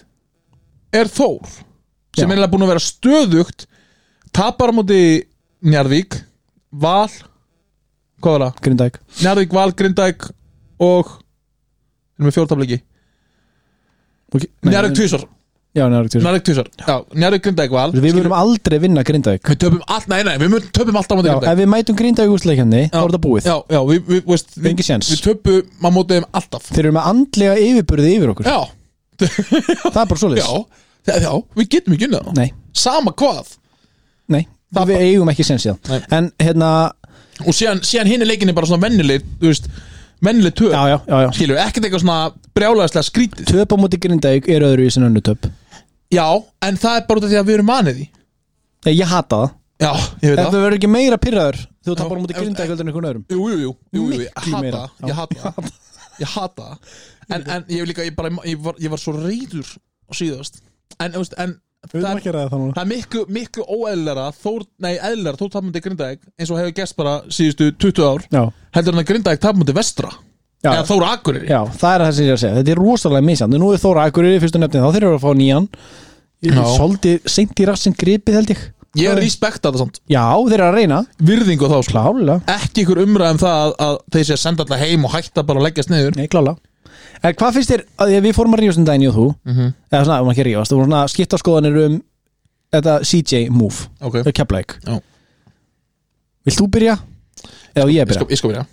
B: Er Þór Sem
A: Já.
B: eiginlega búin að vera stöðugt Tapar á móti Njarvík Val Hvað var það?
A: Grindavík
B: Njarðvík, Val, Grindæk og erum við fjórtafleiki
A: okay.
B: Njarðvík tvísar,
A: Já, Njárvík tvisvar.
B: Njarðvík tvísar Já, Njarðvík, Grindæk, Val
A: Við verðum aldrei vinna Grindavík
B: Við töpum allt, nei, nei, við mun- töpum allt á móti
A: Já,
B: Grindavík
A: ef við mætum Grindavík úsleikjandi þá er þetta búið
B: Já, já, við, við, veist,
A: Það er
B: við,
A: engin séns
B: við töpum á móti þeim alltaf
A: Þeir eru með andlega yfirburði yfir okkur
B: Já,
A: Það er bara
B: já,
A: svoleiðis
B: já, já, við getum ekki unnið það
A: Nei,
B: Sama hvað
A: nei
B: Það
A: Við eigum ekki séns í
B: Nei.
A: það En hérna
B: Og síðan, síðan hinn er leikinni bara svona vennileg, þú veist, vennileg töp
A: Já, já, já, já
B: Skilur, ekkert eitthvað svona brjálæðislega skrítið
A: Töp á móti Grindavík er öðru í sinna önnu töp
B: Já, en það er bara út af því að við erum vanið því
A: Nei, Ég hata það
B: Já, ég veit
A: Ef
B: það
A: þú verður ekki meira pyrraður Þú
B: Já,
A: tapar á móti
B: ef-
A: Grindavík heldur en einhvern öðrum
B: Jú, jú, jú, jú, jú ég
A: Miklu
B: hata,
A: meira.
B: það, ég hata það Ég hata það. en, en ég, hef líka, ég, bara, ég, var, ég var svo reyður á síðast En, þú veist, en það, er,
A: að ræða það núna
B: það er miklu, miklu óeðlera Þór, nei, eðlera, Þór tapmundi Grindavík eins og hefur gæst bara síðustu 20 ár
A: Já,
B: heldur hann að Grindavík tapmundi Vestra
A: já,
B: eða Þór Akureyri
A: já, það er það sem ég er að segja Þetta er rosalega misjand Nú er Þóra Akureyri í fyrstu nefnið Þá þeir eru að fá nýjan
B: Já.
A: Svolítið seint í rassin gripið held ég
B: Ég
A: Það
B: er
A: er-
B: respekta það samt,
A: Já, þeir eru að reyna
B: virðingu þá sko.
A: Klálega
B: ekki ykkur umræðum það að, að þeir sé að senda alltaf heim og hætta bara að leggjast niður
A: Nei, klála En hvað finnst þér, að því að við fórum að rífast um daginn ég og þú
B: Mhm.
A: eða svona, um ekki að rífast, þú voru svona skipta skoðanir um þetta CJ move
B: Ok,
A: eða keplæk
B: Já.
A: Vilt þú byrja? Eða á ég að
B: ég
A: byrja?
B: skal, ég skal byrja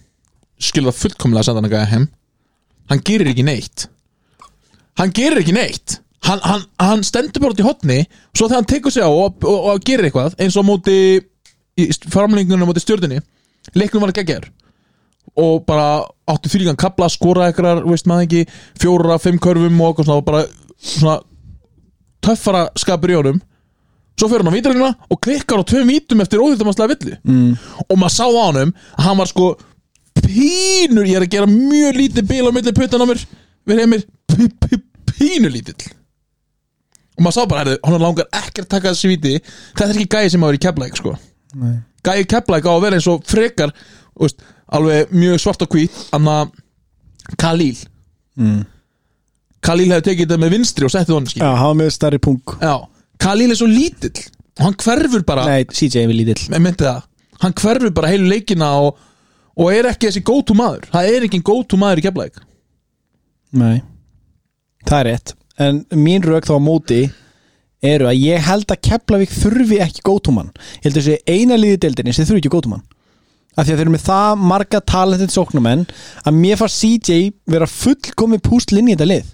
B: skilur það fullkomlega að senda hann að gæja heim hann gerir ekki neitt hann gerir ekki neitt hann, hann, hann stendur bara út í hotni svo þegar hann tekur sig á og, og, og, gerir eitthvað eins og á móti í framlengunum á móti stjörðinni leiknum var að geggjær og bara áttu þýlíkan kapla skora eitthvað, veist maður ekki fjóra, fimm körfum og eitthvað svona og bara svona töffara skapur í honum svo fyrir hann á vítalina og klikkar á tveim vítum eftir óhjöldumanslega villu
A: Mm,
B: og maður sá á honum að hann var sko pínur, ég er að gera mjög lítið bíl á milli puttan á mér við heimir p- p- pínur lítill og maður sá bara, herðu, hann langar ekki að taka þessi víti þetta er ekki gæði sem að vera í keflæk sko.
A: nei.
B: gæði keflæk á að vera eins og frekar þú veist, alveg mjög svart og hvít anna Kalíl
A: Mm.
B: Kalíl hefði tekið þetta með vinstri og settið honum skil
A: Já, hafa með starri punk
B: Já, Kalíl er svo lítill og hann hverfur bara
A: Nei, CJ er við lítill
B: Ég myndi það hann hverfur bara heilu leikina og, og er ekki þessi go-to maður það er ekki go-to maður í keflæk
A: Nei Það er rétt En mín rauk þá á móti eru að ég held að Keflavík þurfi ekki gótumann Ég held að þessi eina liði deildinni sem þurfi ekki gótumann Af því að þeir eru með það marga talentið sóknumenn að mér fannst CJ vera fullkomi púsl inn í þetta lið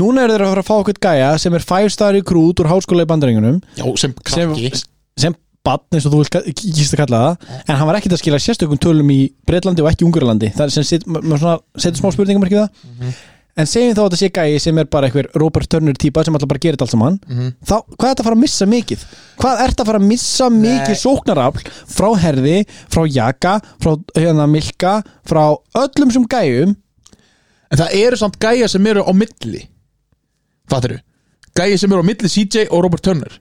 A: Núna eru þeir að fara að fá okkur gæja sem er 5 star í krút úr háskóla í bandarengunum
B: já, sem
A: sem,
B: krakki
A: sem badn eins og þú vilt ka- kýst að kalla það en hann var ekkert að skila sérstökum tölum í Breitlandi og ekki Ungarlandi það er sem set, ma- maður svona setur smá spurningum ekki það en segjum þá að þetta sé gæi sem er bara einhver Robert Turner típa sem alltaf bara gerir þetta allt saman
B: Mhm.
A: þá, hvað er þetta að fara að missa mikið? hvað er þetta að fara að missa mikið sóknarafl frá Herði, frá Jaka frá hérna Milka, frá öllum sem gæjum
B: en það eru samt gæja sem eru á milli fattir du gæja sem eru á milli CJ og Robert Turner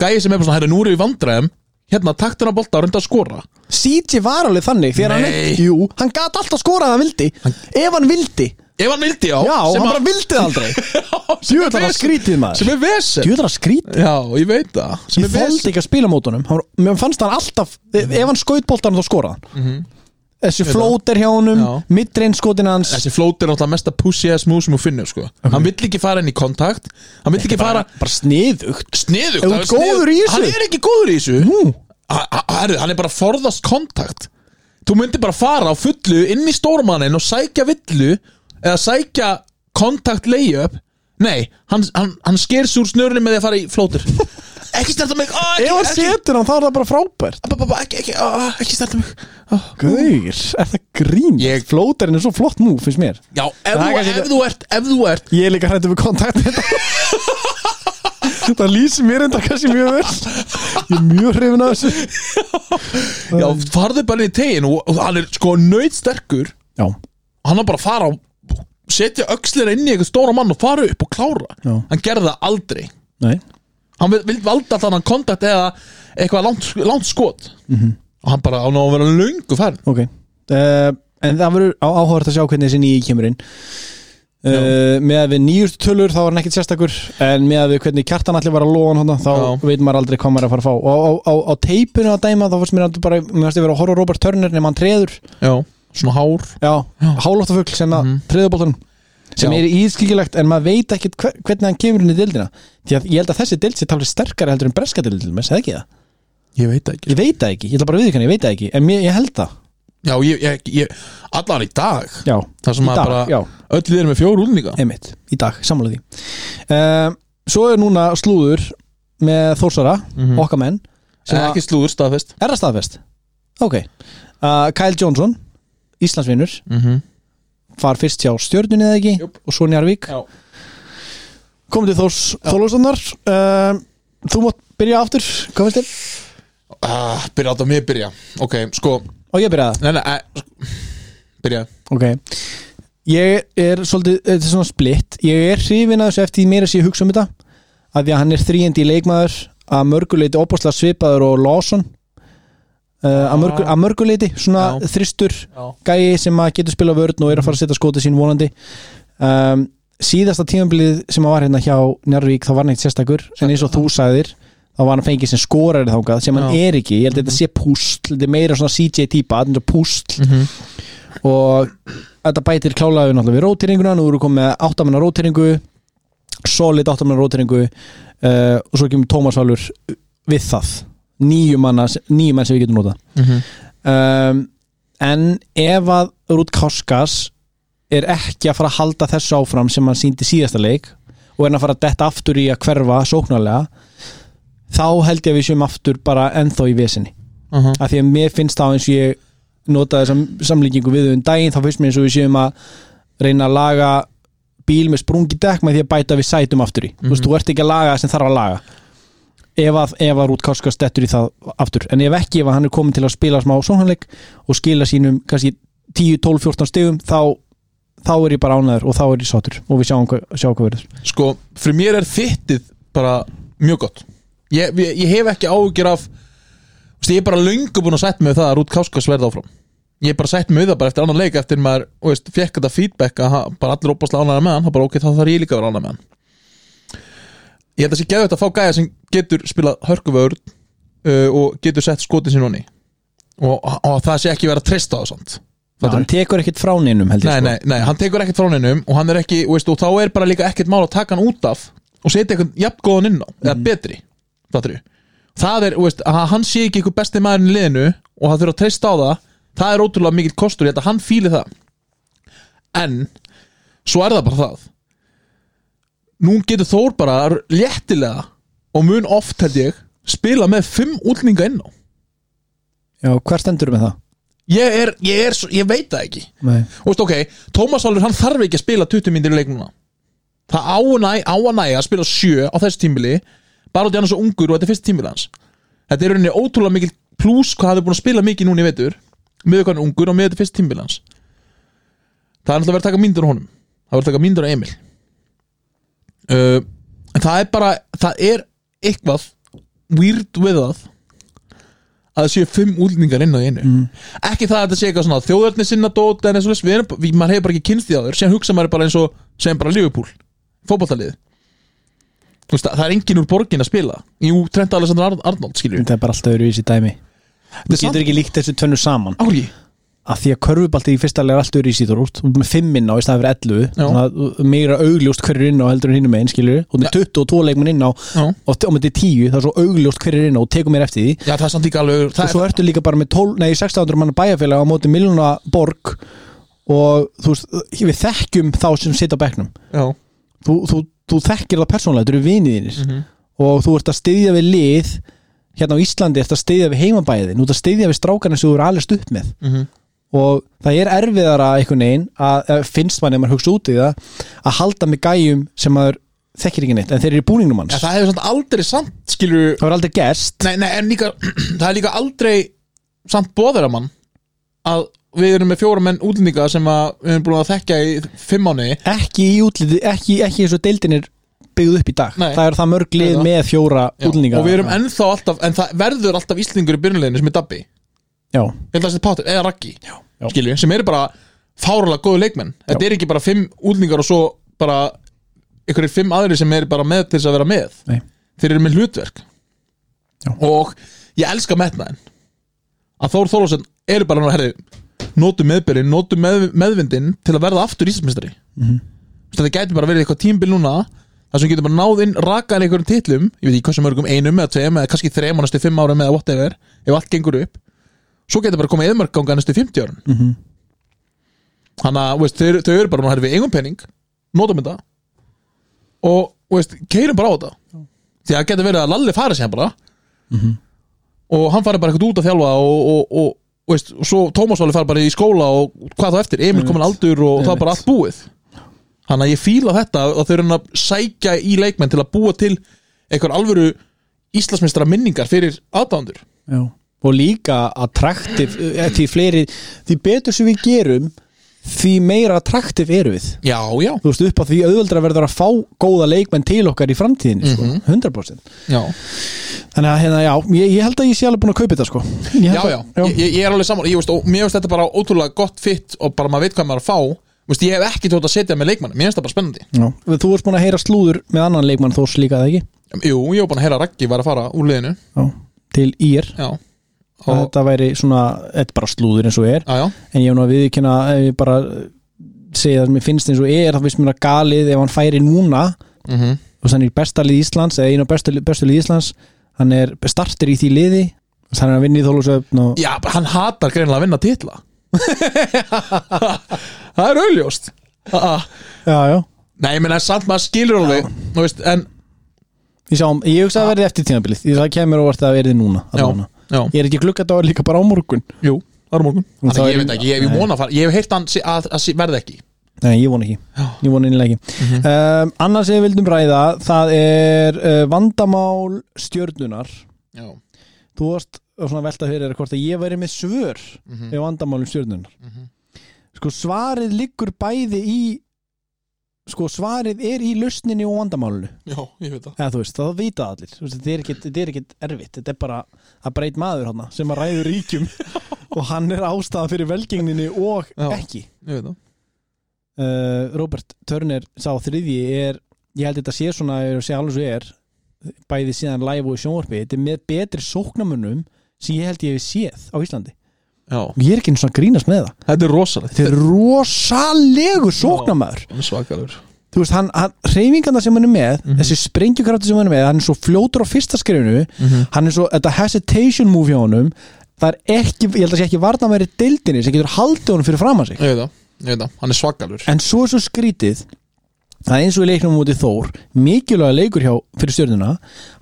B: gæja sem er bara svona, hérna nú eru við í vandræðum hérna takt hann að bolta og reynda að skora
A: CJ var alveg þannig því að hann,
B: Nei.
A: jú, hann gat alltaf skorað að hann vildi ef hann vildi,
B: ef hann vildi á
A: já,
B: sem
A: hann bara
B: að-
A: vildi það aldrei
B: Já, sem
A: Djúvill
B: er
A: var það
B: vesen.
A: skrítið, maður.
B: sem er vesen
A: djúðar að skrít
B: já, ég veit það sem
A: ég
B: er Mhm.
A: þóldi
B: vesen
A: ekki að spila mótunum mér fannst hann alltaf, e- ef hann skaut boltan þá skoraði hann
B: Mhm.
A: þessi flót er hjá honum,
B: Já.
A: midreinskotin hans
B: þessi flót er náttúrulega mesta pussy ass move sem hún finnur sko. hann vill ekki fara inn í kontakt hann vill ekki fara
A: bara sniðugt
B: sniðugt
A: Er hún
B: hann er sniðugt.
A: góður í þessu?
B: hann er ekki góður í þessu
A: Nú,
B: Ha- ha- herru, hann er bara að forðast kontakt þú myndir bara fara á fullu inn í stórmannin og sækja villu eða sækja kontakt layup nei, hann, hann, hann sker sér úr snörunni með því að fara
A: <laughs>
B: í flótur ekki snerta mig ah,
A: ef hann
B: ekki, ekki,
A: setur hann þá er það bara frábært
B: ba- ba- ba- ekki, ekki, ah, ekki snerta mig ah.
A: Gauir, er það grín
B: Ég-
A: Flóterinn er svo flott nú, finnst mér
B: já,
A: Það
B: ef,
A: er
B: þú,
A: kannski-
B: ef þú ert ef þú ert
A: Ég er líka hrættu við kontakt með þetta Það lýsir mér enda kannski mjög vel Ég er mjög hrifin af þessu
B: já, farðu bara inn í tegin og, og hann er sko nöyð sterkur
A: Já,
B: hann var bara að fara og setja öxlir inn í eitthvað stóra mann og fara upp og klára
A: Já.
B: hann gerði það aldrei
A: nei
B: hann vil, vil valda þannig kontakt eða eitthvað langt, langt skot og hann bara á ná að vera löngu færn
A: Ok uh, En það verður á- áhugavert að sjá hvernig þessi nýji kemur inn uh, Með að við nýjustu tölur þá var hann ekkit sérstakur En með að við hvernig kjartan allir var að lóa hann hana, Þá
B: Já.
A: veit maður aldrei hvað maður er að fara að fá Og á, á, á teipinu að dæma þá fannst mér aldrei bara Mér fannst ég vera að horfa á Robert Turner nema hann treður
B: já, svona hár
A: Já, hálóttafugl sem að mm. treðubóltunum sem
B: Mhm. Já.
A: er ískikilegt en maður veit ekkit hver, hvernig hann kemur inn í dildina því að ég held að þessi dild sér tafli sterkari heldur en breska dildin, með ekki það
B: ég veit það ekki
A: ég veit það ekki, ég ætla bara að viðurkenna, ég veit það ekki en mér, ég held það,
B: já, ég, ég, ég, allan í dag
A: já,
B: það sem
A: Í
B: að
A: dag,
B: bara
A: já.
B: öll við erum með fjóru úlninga
A: einmitt, í dag, samlega því um, Svo er núna slúður með Þórsara,
B: Mhm.
A: okkar menn sem
B: ekki slúður staðfest
A: að- er það staðfest Ok, uh, Kyle Johnson Íslandsvinnur,
B: mm -hmm.
A: far fyrst hjá stjörnunni eða ekki
B: Júp.
A: og svo Njarvík
B: Já.
A: Komum til Þórs Þólusannar um, Þú mátt byrja aftur, hvað veist þér?
B: ah, byrja átt á mig byrja ok, sko,
A: Og ég byrja það
B: nei, nei, eh, sko byrja
A: Ok Ég er svolítið, þetta er svona splitt Ég er hrifin að þessu eftir því meira sem ég hugsa um þetta að því að hann er þríendi leikmaður að mörguleiti opaslega svipaður og Lawson uh, að, mörgu, að mörguleiti svona
B: Já.
A: þristur
B: já,
A: gæi sem að getur spilað vörn og er að fara að setja skotið sín vonandi um, síðasta tímabilið sem að var hérna hjá Njárvík þá var hann neitt sérstakur en eins og þú sagðir þá var hann fengið sem skorari þangað sem hann
B: Já.
A: er ekki, ég held að þetta sé púsl þetta er meira svona CJ típa, þetta er púsl og þetta bætir klálega við náttúrulega við rótiringuna, nú erum við komið með áttamanna rótiringu solid áttamanna rótiringu uh, og svo kemur Tómas Valur við það nýju, manna, nýju menn sem við getum notað
B: Mhm.
A: um, en ef að Rút Káskas er ekki að fara að halda þessu áfram sem hann síndi síðasta leik og er að fara að detta aftur í að hverfa sóknarlega þá held ég að við séum aftur bara ennþá í vesinni
B: Aha.
A: af því að mér finnst þá eins og ég notaði sam samlíkingu við um daginn þá finnst mér eins og við séum að reyna að laga bíl með sprungi dekk með því að bæta við sætum aftur í þú
B: Mhm.
A: veist, þú ert ekki að laga það sem þarf að laga ef að, ef að Rút Kárska stettur í það aftur en ef ekki, ef að hann er komin til að spila smá sónhanleik og skila sínum kannski 10, 12, 14 stegum þá, þá er ég bara ánæður og þá er ég sátur og við sjáum hvað, sjáum hvað verður
B: sko, fyrir mér er þittið bara mjög gott ég, ég, ég hef ekki áhugir af veist, ég er bara löngu búin að setja mig við það að Rút Káskas verði áfram ég er bara sett mig við það bara eftir annan leik eftir maður, þú veist, fekk þetta feedback að hann- bara allir opaslega ánægða með hann þá bara ok, þá þarf ég líka að vera ánægða með hann ég held að sé geðvægt að fá gæja sem getur spilað hörkuvörð uh, og getur sett skotin sín honni og, og það sé ekki verið að treysta á það samt
A: Já, hann tekur ekkit frá neinum held
B: nei,
A: ég sko.
B: nei, nei, hann tekur ekkert frá neinum og hann er ekki, þú veist, og þá er bara líka ekkert mál að taka hann út af og setja eitthvað jafn góðan inn á, eða betri fattarðu? það er, þú veist, að hann sé ekki eitthvað besti maðurinn í liðinu og hann þurfa að treysta á það það er ótrúlega mikill kostur, ég held að hann fíli það en svo er það bara það nú getur Þór bara léttilega og mun oft held ég spila með fimm útlinga inn á
A: Já, hver stendur með það?
B: ég er, ég er, svo- ég veit það ekki
A: Nei.
B: Þú veist, ok, Tómas Álfur hann þarf ekki að spila 20 myndir í leiknuna Það á að næ- á að næja að spila 7 á þessu tímbili bara út í hann er svo ungur og þetta er fyrst tímbili hans Þetta er í rauninni ótrúlega mikil plús hvað hann er búin að spila mikið núna í vetur með hvað hann er ungur og með þetta fyrst tímbili hans Það er alltaf verið að taka myndir á honum Það er verið að taka myndir á Emil uh, En það er bara það er eitthvað weird við það að það séu fimm útlendingar inn á í einu
A: Mm.
B: ekki það að þetta sé eitthvað svona þjóðarni sinna dót en eins og þess, við erum, við, maður hefur bara ekki kynst því áður sem hugsa maður er bara eins og, sem bara Liverpool fótballtalið Þú veist, það það er engin úr borgin að spila jú, Trent Alexander Ar- Arnold skilju
A: Þetta er bara alltaf öðruvísi dæmi Þú
B: samt-
A: getur ekki líkt þessu tönnu saman
B: ári,
A: að því að körfubalti í fyrsta lega er alltaf öðruvísi þú út með fimm inn á í staði fyrir 11
B: Já.
A: þannig að þú- meira augljóst hverju inn á heldur en hinnum einn skilur og með 22 leikmenn inn á
B: já,
A: og t- á myndi 10 það er svo augljóst hverju inn á og tekur mér eftir því
B: já, það er samt líka alveg
A: og
B: það
A: svo ertu líka bara með 12, nei, 600 manna bæjarfélag á móti miljóna borg og þú veist, við þekkjum þá sem sitja á bekknum
B: er, já,
A: þú, þú, þú þekkir það persónulega, þú eru viniðinir
B: Mhm.
A: mm og þú ert að styðja við lið hérna á Íslandi ert að styðja við heimabæðin þú ert að styðja við strákarna sem þú eru alveg upp með
B: mm
A: og það er erfiðara einhvern veginn að, að finnst mann ef maður hugsa út í það að halda með gæjum sem maður þekkir ekki neitt en þeir eru í búningnum hans
B: já, það hefur samt aldrei samt skilju
A: það var aldrei gerst
B: nei, nei, en líka, <clears throat> það er líka aldrei samt bóðara mann að við erum með fjóra menn útlendinga sem að við erum búin að þekkja í fimm áni
A: ekki í útliti, ekki, ekki eins og deildin er byggð upp í dag
B: Nei.
A: það er það mörg lið
B: Nei, það.
A: með fjóra
B: Já,
A: útlendinga
B: og við erum ennþá alltaf, en það verður alltaf Íslendingur í byrjuleginu sem er Dabbi ég
A: já,
B: held að það sé Pátur, eða Raggi
A: Já.
B: skilju, sem eru bara fárulega góðu leikmenn þetta er ekki bara fimm útlendingar og svo bara einhverjir fimm aðri sem eru bara með til þess að vera með
A: Nei.
B: þeir eru með hlutverk
A: Já.
B: og ég elska metnaðin að Þór Þólasson eru bara nú, herri, notu meðbyrðin, notu með, meðvindin til að verða aftur Íslandsmeistari mm -hmm. þetta gæti bara verið eitthvað tímbil núna þar sem við getum bara náð inn rakaðan einhverjum titlum ég veit ekki hversu mörgum einum eða tveim eða kannski þreim á næstu fimm árum eða whatever ef allt gengur upp svo getur bara komið eðmörg ganga næstu 50 árum mm -hmm. þannig að þú veist, þau, þau eru bara nú herri við engum penning notum þetta og þú veist, keirum bara á þetta því að það getur verið að Lalli fara sér bara og hann farið bara eitthvað út að þjálfa og, og, og, og, veist, og svo Tómas Valur farið bara í skóla og hvað þá eftir, Emil komin aldur og það er bara allt búið þannig að ég fíla þetta að þau eru að sækja í leikmenn til að búa til einhver alvöru Íslandsmeistra minningar fyrir aðdándur
A: já. og líka attraktiv eh, því fleiri, því betur sem við gerum því meira attraktiv eru við
B: já, já,
A: þú veist upp á því auðvöldra verður að fá góða leikmenn til okkar í framtíðinni
B: Mhm.
A: sko, 100%
B: já,
A: þannig að hérna, já, ég, ég held að ég sé alveg búin að kaupa þetta sko Ég
B: já,
A: held
B: já.
A: að-
B: Ég, ég er alveg saman ég, veist, og mér finnst þetta bara ótrúlega gott fitt og bara maður veit hvað maður er að fá Vist, ég hef ekki tótt að setja með leikmann, mér finnst það bara spennandi
A: Já. þú varst búin að heyra slúður með annan leikmann þó slíka það ekki
B: jú, ég hef búin að heyra að Raggi var að fara úr liðinu
A: já. til ír
B: já,
A: að
B: og,
A: þetta væri svona, þetta er bara slúður eins og er
B: já, já.
A: en ég hef nú að viðkynna ef ég bara segja það sem ég finnst eins og er þá finnst mér að galið ef hann færi núna
B: Mm -hmm.
A: og hann er í besta lið Íslands eða einu af bestu, bestu lið Íslands hann er startir í því liði þannig að hann er að vinna í þólusöfn og
B: Já, bara hann hatar greinlega að vinna titla <laughs> Það er auðljóst Ah, ah.
A: já, já,
B: Nei, ég meina samt maður skilur alveg Nú veist, en
A: ég sjáum, ég hugsa að það verði eftir tímabilið því það kemur óvart að það verði núna
B: Já,
A: allavega.
B: já,
A: ég er ekki gluggat á líka bara á morgun
B: jú, það er á morgun
A: Og
B: Þannig
A: þá
B: að
A: er-
B: ég veit ekki, ég hef vona að fara Ég hef heyrt hann sé- að, að, að verða ekki Mhm.
A: Nei, ég vona ekki, ég vona innlega ekki um, annars sem við vildum ræða það er uh, vandamál stjörnunar
B: Já,
A: þú varst og svona velta fyrir þér hvort að ég væri með svör mm -hmm.
B: Mhm.
A: ef vandamálum stjörnunar sko svarið liggur bæði í sko svarið er í lausninni og vandamálinu
B: já ég veit það
A: eða þú veist, það vita það allir Þú veist, þetta er ekkit, þetta er ekkit erfitt, þetta er bara að breyt maður hana sem að ræður ríkjum og hann er ástæða fyrir velgengninni og
B: Já.
A: ekki
B: Ég veit það
A: uh, Robert Turner sá þriðji er, ég held þetta sé svona ef ég sé alveg svo er bæði síðan live og í sjónvarpi, þetta er með betri sóknamunum sem ég held ég hef séð á Íslandi
B: Já,
A: ég er ekki einu svona að grínast með það
B: þetta er rosalegt
A: þetta er rosalegu sóknamaður
B: Hann er svakalur
A: þú veist, hann, hann reyfingarna sem hann er með þessi sprengjukrafti sem hann er með, hann er svo fljótur á fyrsta skrifinu,
B: Mhm.
A: hann er svo þetta hesitation move hjá honum það er ekki, ég held að sé ekki varna meiri deildinni sem getur haldið honum fyrir fram að sig
B: Ég veit það, ég veit það, hann er svakalur
A: en svo er svo skrítið að eins og í leiknum mútið Þór mikilvæga leikur hjá fyrir stjörnuna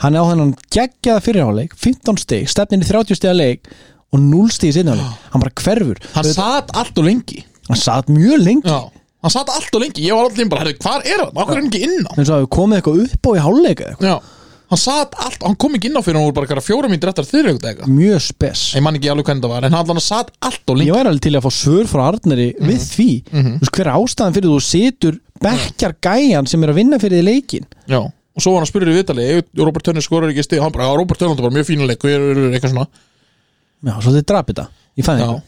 A: hann er á þennan geggjaða fyrirháleik 15 stig, stefnin í 30 stiga leik og 0 stig í sinnáleik, hann bara hverfur
B: Hann satt allt og lengi
A: hann satt mjög lengi
B: Já, hann satt allt og lengi Ég var alltaf bara, herri, hvar er hann? Akkur er hann ekki inn á?
A: eins og að við komið eitthvað upp á í háleika
B: Já, hann satt allt Hann kom ekki inn á fyrir hann voru bara eitthvað fjórum mínir eftir þyrri eitthvað
A: mjög spes
B: Ég man ekki alveg hvernig það var En hann allan satt allt og lengi
A: ég væri alveg til að fá svör frá Arnari
B: Mhm.
A: við því, þú veist hver er ástæðan fyrir þú setur bekkjar gæjan sem er að vinna fyrir því leikin
B: Já, og svo var hann að spyrja í vitali Ef Robert Tönni skorar ekki stig Hann bara, já, Robert Tönni var bara mjög fína leik og ég er eitthvað svona
A: já, svo þið drapið það, ég fæði
B: Já
A: það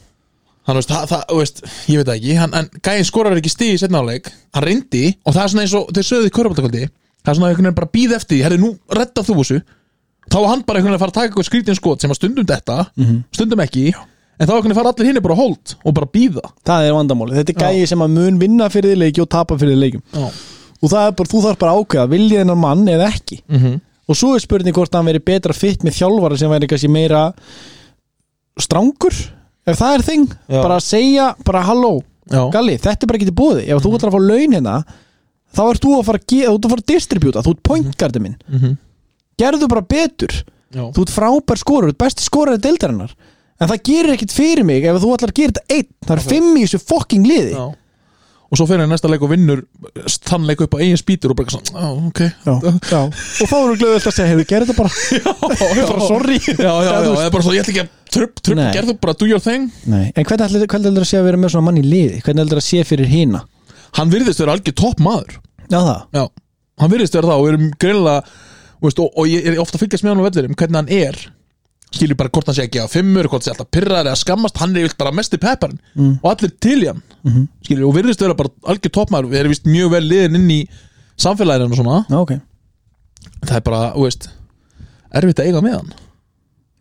B: Hann veist, það, það, þú veist, ég veit það ekki hann, En gæinn skorar ekki stig í setna áleik Hann reyndi og það er svona eins og Þeir sögðu í körbátakvöldi Það er svona einhvern veginn bara býð eftir því Herri, nú redda þú þessu Þá var hann bara einhvern veginn að fara að taka eitthvað skrítin skot Sem að stundum þetta,
A: Mhm.
B: stundum ekki En þá einhvern veginn fara allir hinni bara á hold Og bara býða
A: það er vandamálið, þetta er gæji sem að mun vinna fyrir því leiki og tapa fyrir því leikum
B: Já,
A: og það er bara, þú þarf bara að ákveða, viljið hennar mann eða ekki
B: Mhm.
A: og svo er spurning hvort hann veri betra fitt með þjálfara sem væri kannski meira strangur ef það er þing,
B: Já.
A: bara að segja bara halló,
B: já, Mhm.
A: Galli, þetta er bara ekki til búði ef þú ætlar að fá laun hérna þá ert þú að fara að, ge- þú ert að, fara að distributa þú ert pointgardi minn
B: Mhm.
A: gerðu bara betur,
B: já.
A: þú ert frábær skorur þú ert besti skorur deildarinnar en það gerir ekkit fyrir mig ef þú ætlar að gera þetta einn það er fimm í þessu fucking liði
B: Já. Og svo fer hann í næsta leik og vinnur Þann leik upp á eigin spýtur og bara eitthvað svona Já, ok
A: Já, já. og þá erum við glöðið að segja, hefur gerðu þetta bara
B: <laughs> já,
A: bara sorry.
B: Já, já,
A: Eða
B: já,
A: þú
B: já,
A: veist-
B: eða bara svo, ég ætla ekki að Trupp, trupp,
A: Nei.
B: gerðu bara do your thing
A: Nei. en hvernig heldur þetta að sé að vera með svona mann í liði hvernig heldur þetta að sé fyrir hína
B: Hann virðist vera algjör topp maður
A: já það,
B: Já, hann virðist vera það og við erum greinilega þú veist, og, og ég er ofta að fylgjast með hann á vellinum hvernig hann er skilur bara hvort hann sé ekki á fimmur hvort hann sé alltaf pirraður eða skammast hann er yfirlt bara mest í pepparinn
A: Mm.
B: og allir til í hann
A: Mhm.
B: skilur, og virðist vera bara algjör toppmæður við erum vist mjög vel liðin inn í samfélaginu og svona
A: já ok
B: það er bara, þú veist erfitt að eiga með hann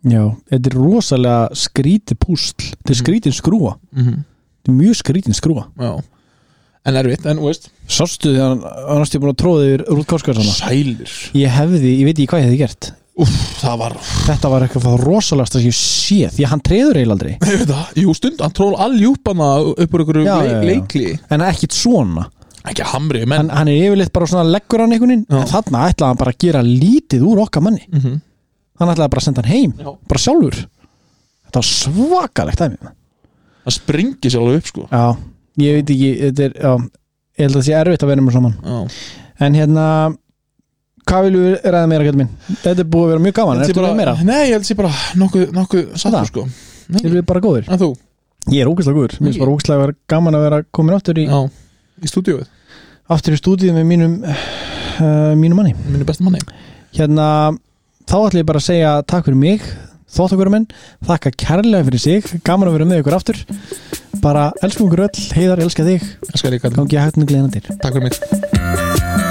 A: já, þetta er rosalega skríti púsl þetta er skrítin skrúa
B: Mhm.
A: þetta er mjög skrítin skrúa
B: Já. en erfitt, en þú veist
A: Sástu því að hann hann varst ég búin að tróða yfir Rúð Korskarsana
B: sælir,
A: Ég hefði, ég veit ekki hvað ég hefði gert
B: Úff, það var
A: Þetta var eitthvað það rosalagast að ég sé Því að hann treður eiginlega aldrei
B: ég veit það, jú stund, hann tról alljúpana upp úr einhverju
A: Já,
B: leik,
A: já, já.
B: leikli
A: En ekkit svona
B: ekki að hamri, menn
A: Hann, hann er yfirleitt bara svona leggur hann einhvern veginn En þarna ætlaði hann bara að gera lítið úr okkar manni
B: Mhm.
A: Hann ætlaði bara að senda hann heim
B: Já.
A: Bara sjálfur Þetta var svakalegt aðeins
B: hann springi sér alveg upp sko
A: Já, ég veit ekki Þetta er, já Ég held að það sé erfitt að vera með saman
B: Já.
A: En hérna Hvað viljum við ræða meira, gæti minn? Þetta er búið að vera mjög gaman,
B: Ég held
A: ertu
B: sé bara-
A: með meira?
B: Nei, ég held sér bara nokkuð, nokkuð sattur
A: Það?
B: sko
A: Erum
B: Nei,
A: við bara góðir?
B: En þú?
A: Ég er ógæslega góður, mér finnst bara ógæslega vera gaman að vera komin aftur í,
B: Já, í stúdíóið
A: aftur í stúdíu með mínum uh, mínum manni.
B: Minni besta manni
A: Hérna, þá ætlum ég bara að segja takk fyrir mig, þóttakurumenn þakka kærlega fyrir sig, gaman að vera með ykkur aftur, bara elskum ykkur öll heiðar, elska þig,
B: Elskar líka
A: gangi að hægt með gleðina til
B: Takk fyrir mig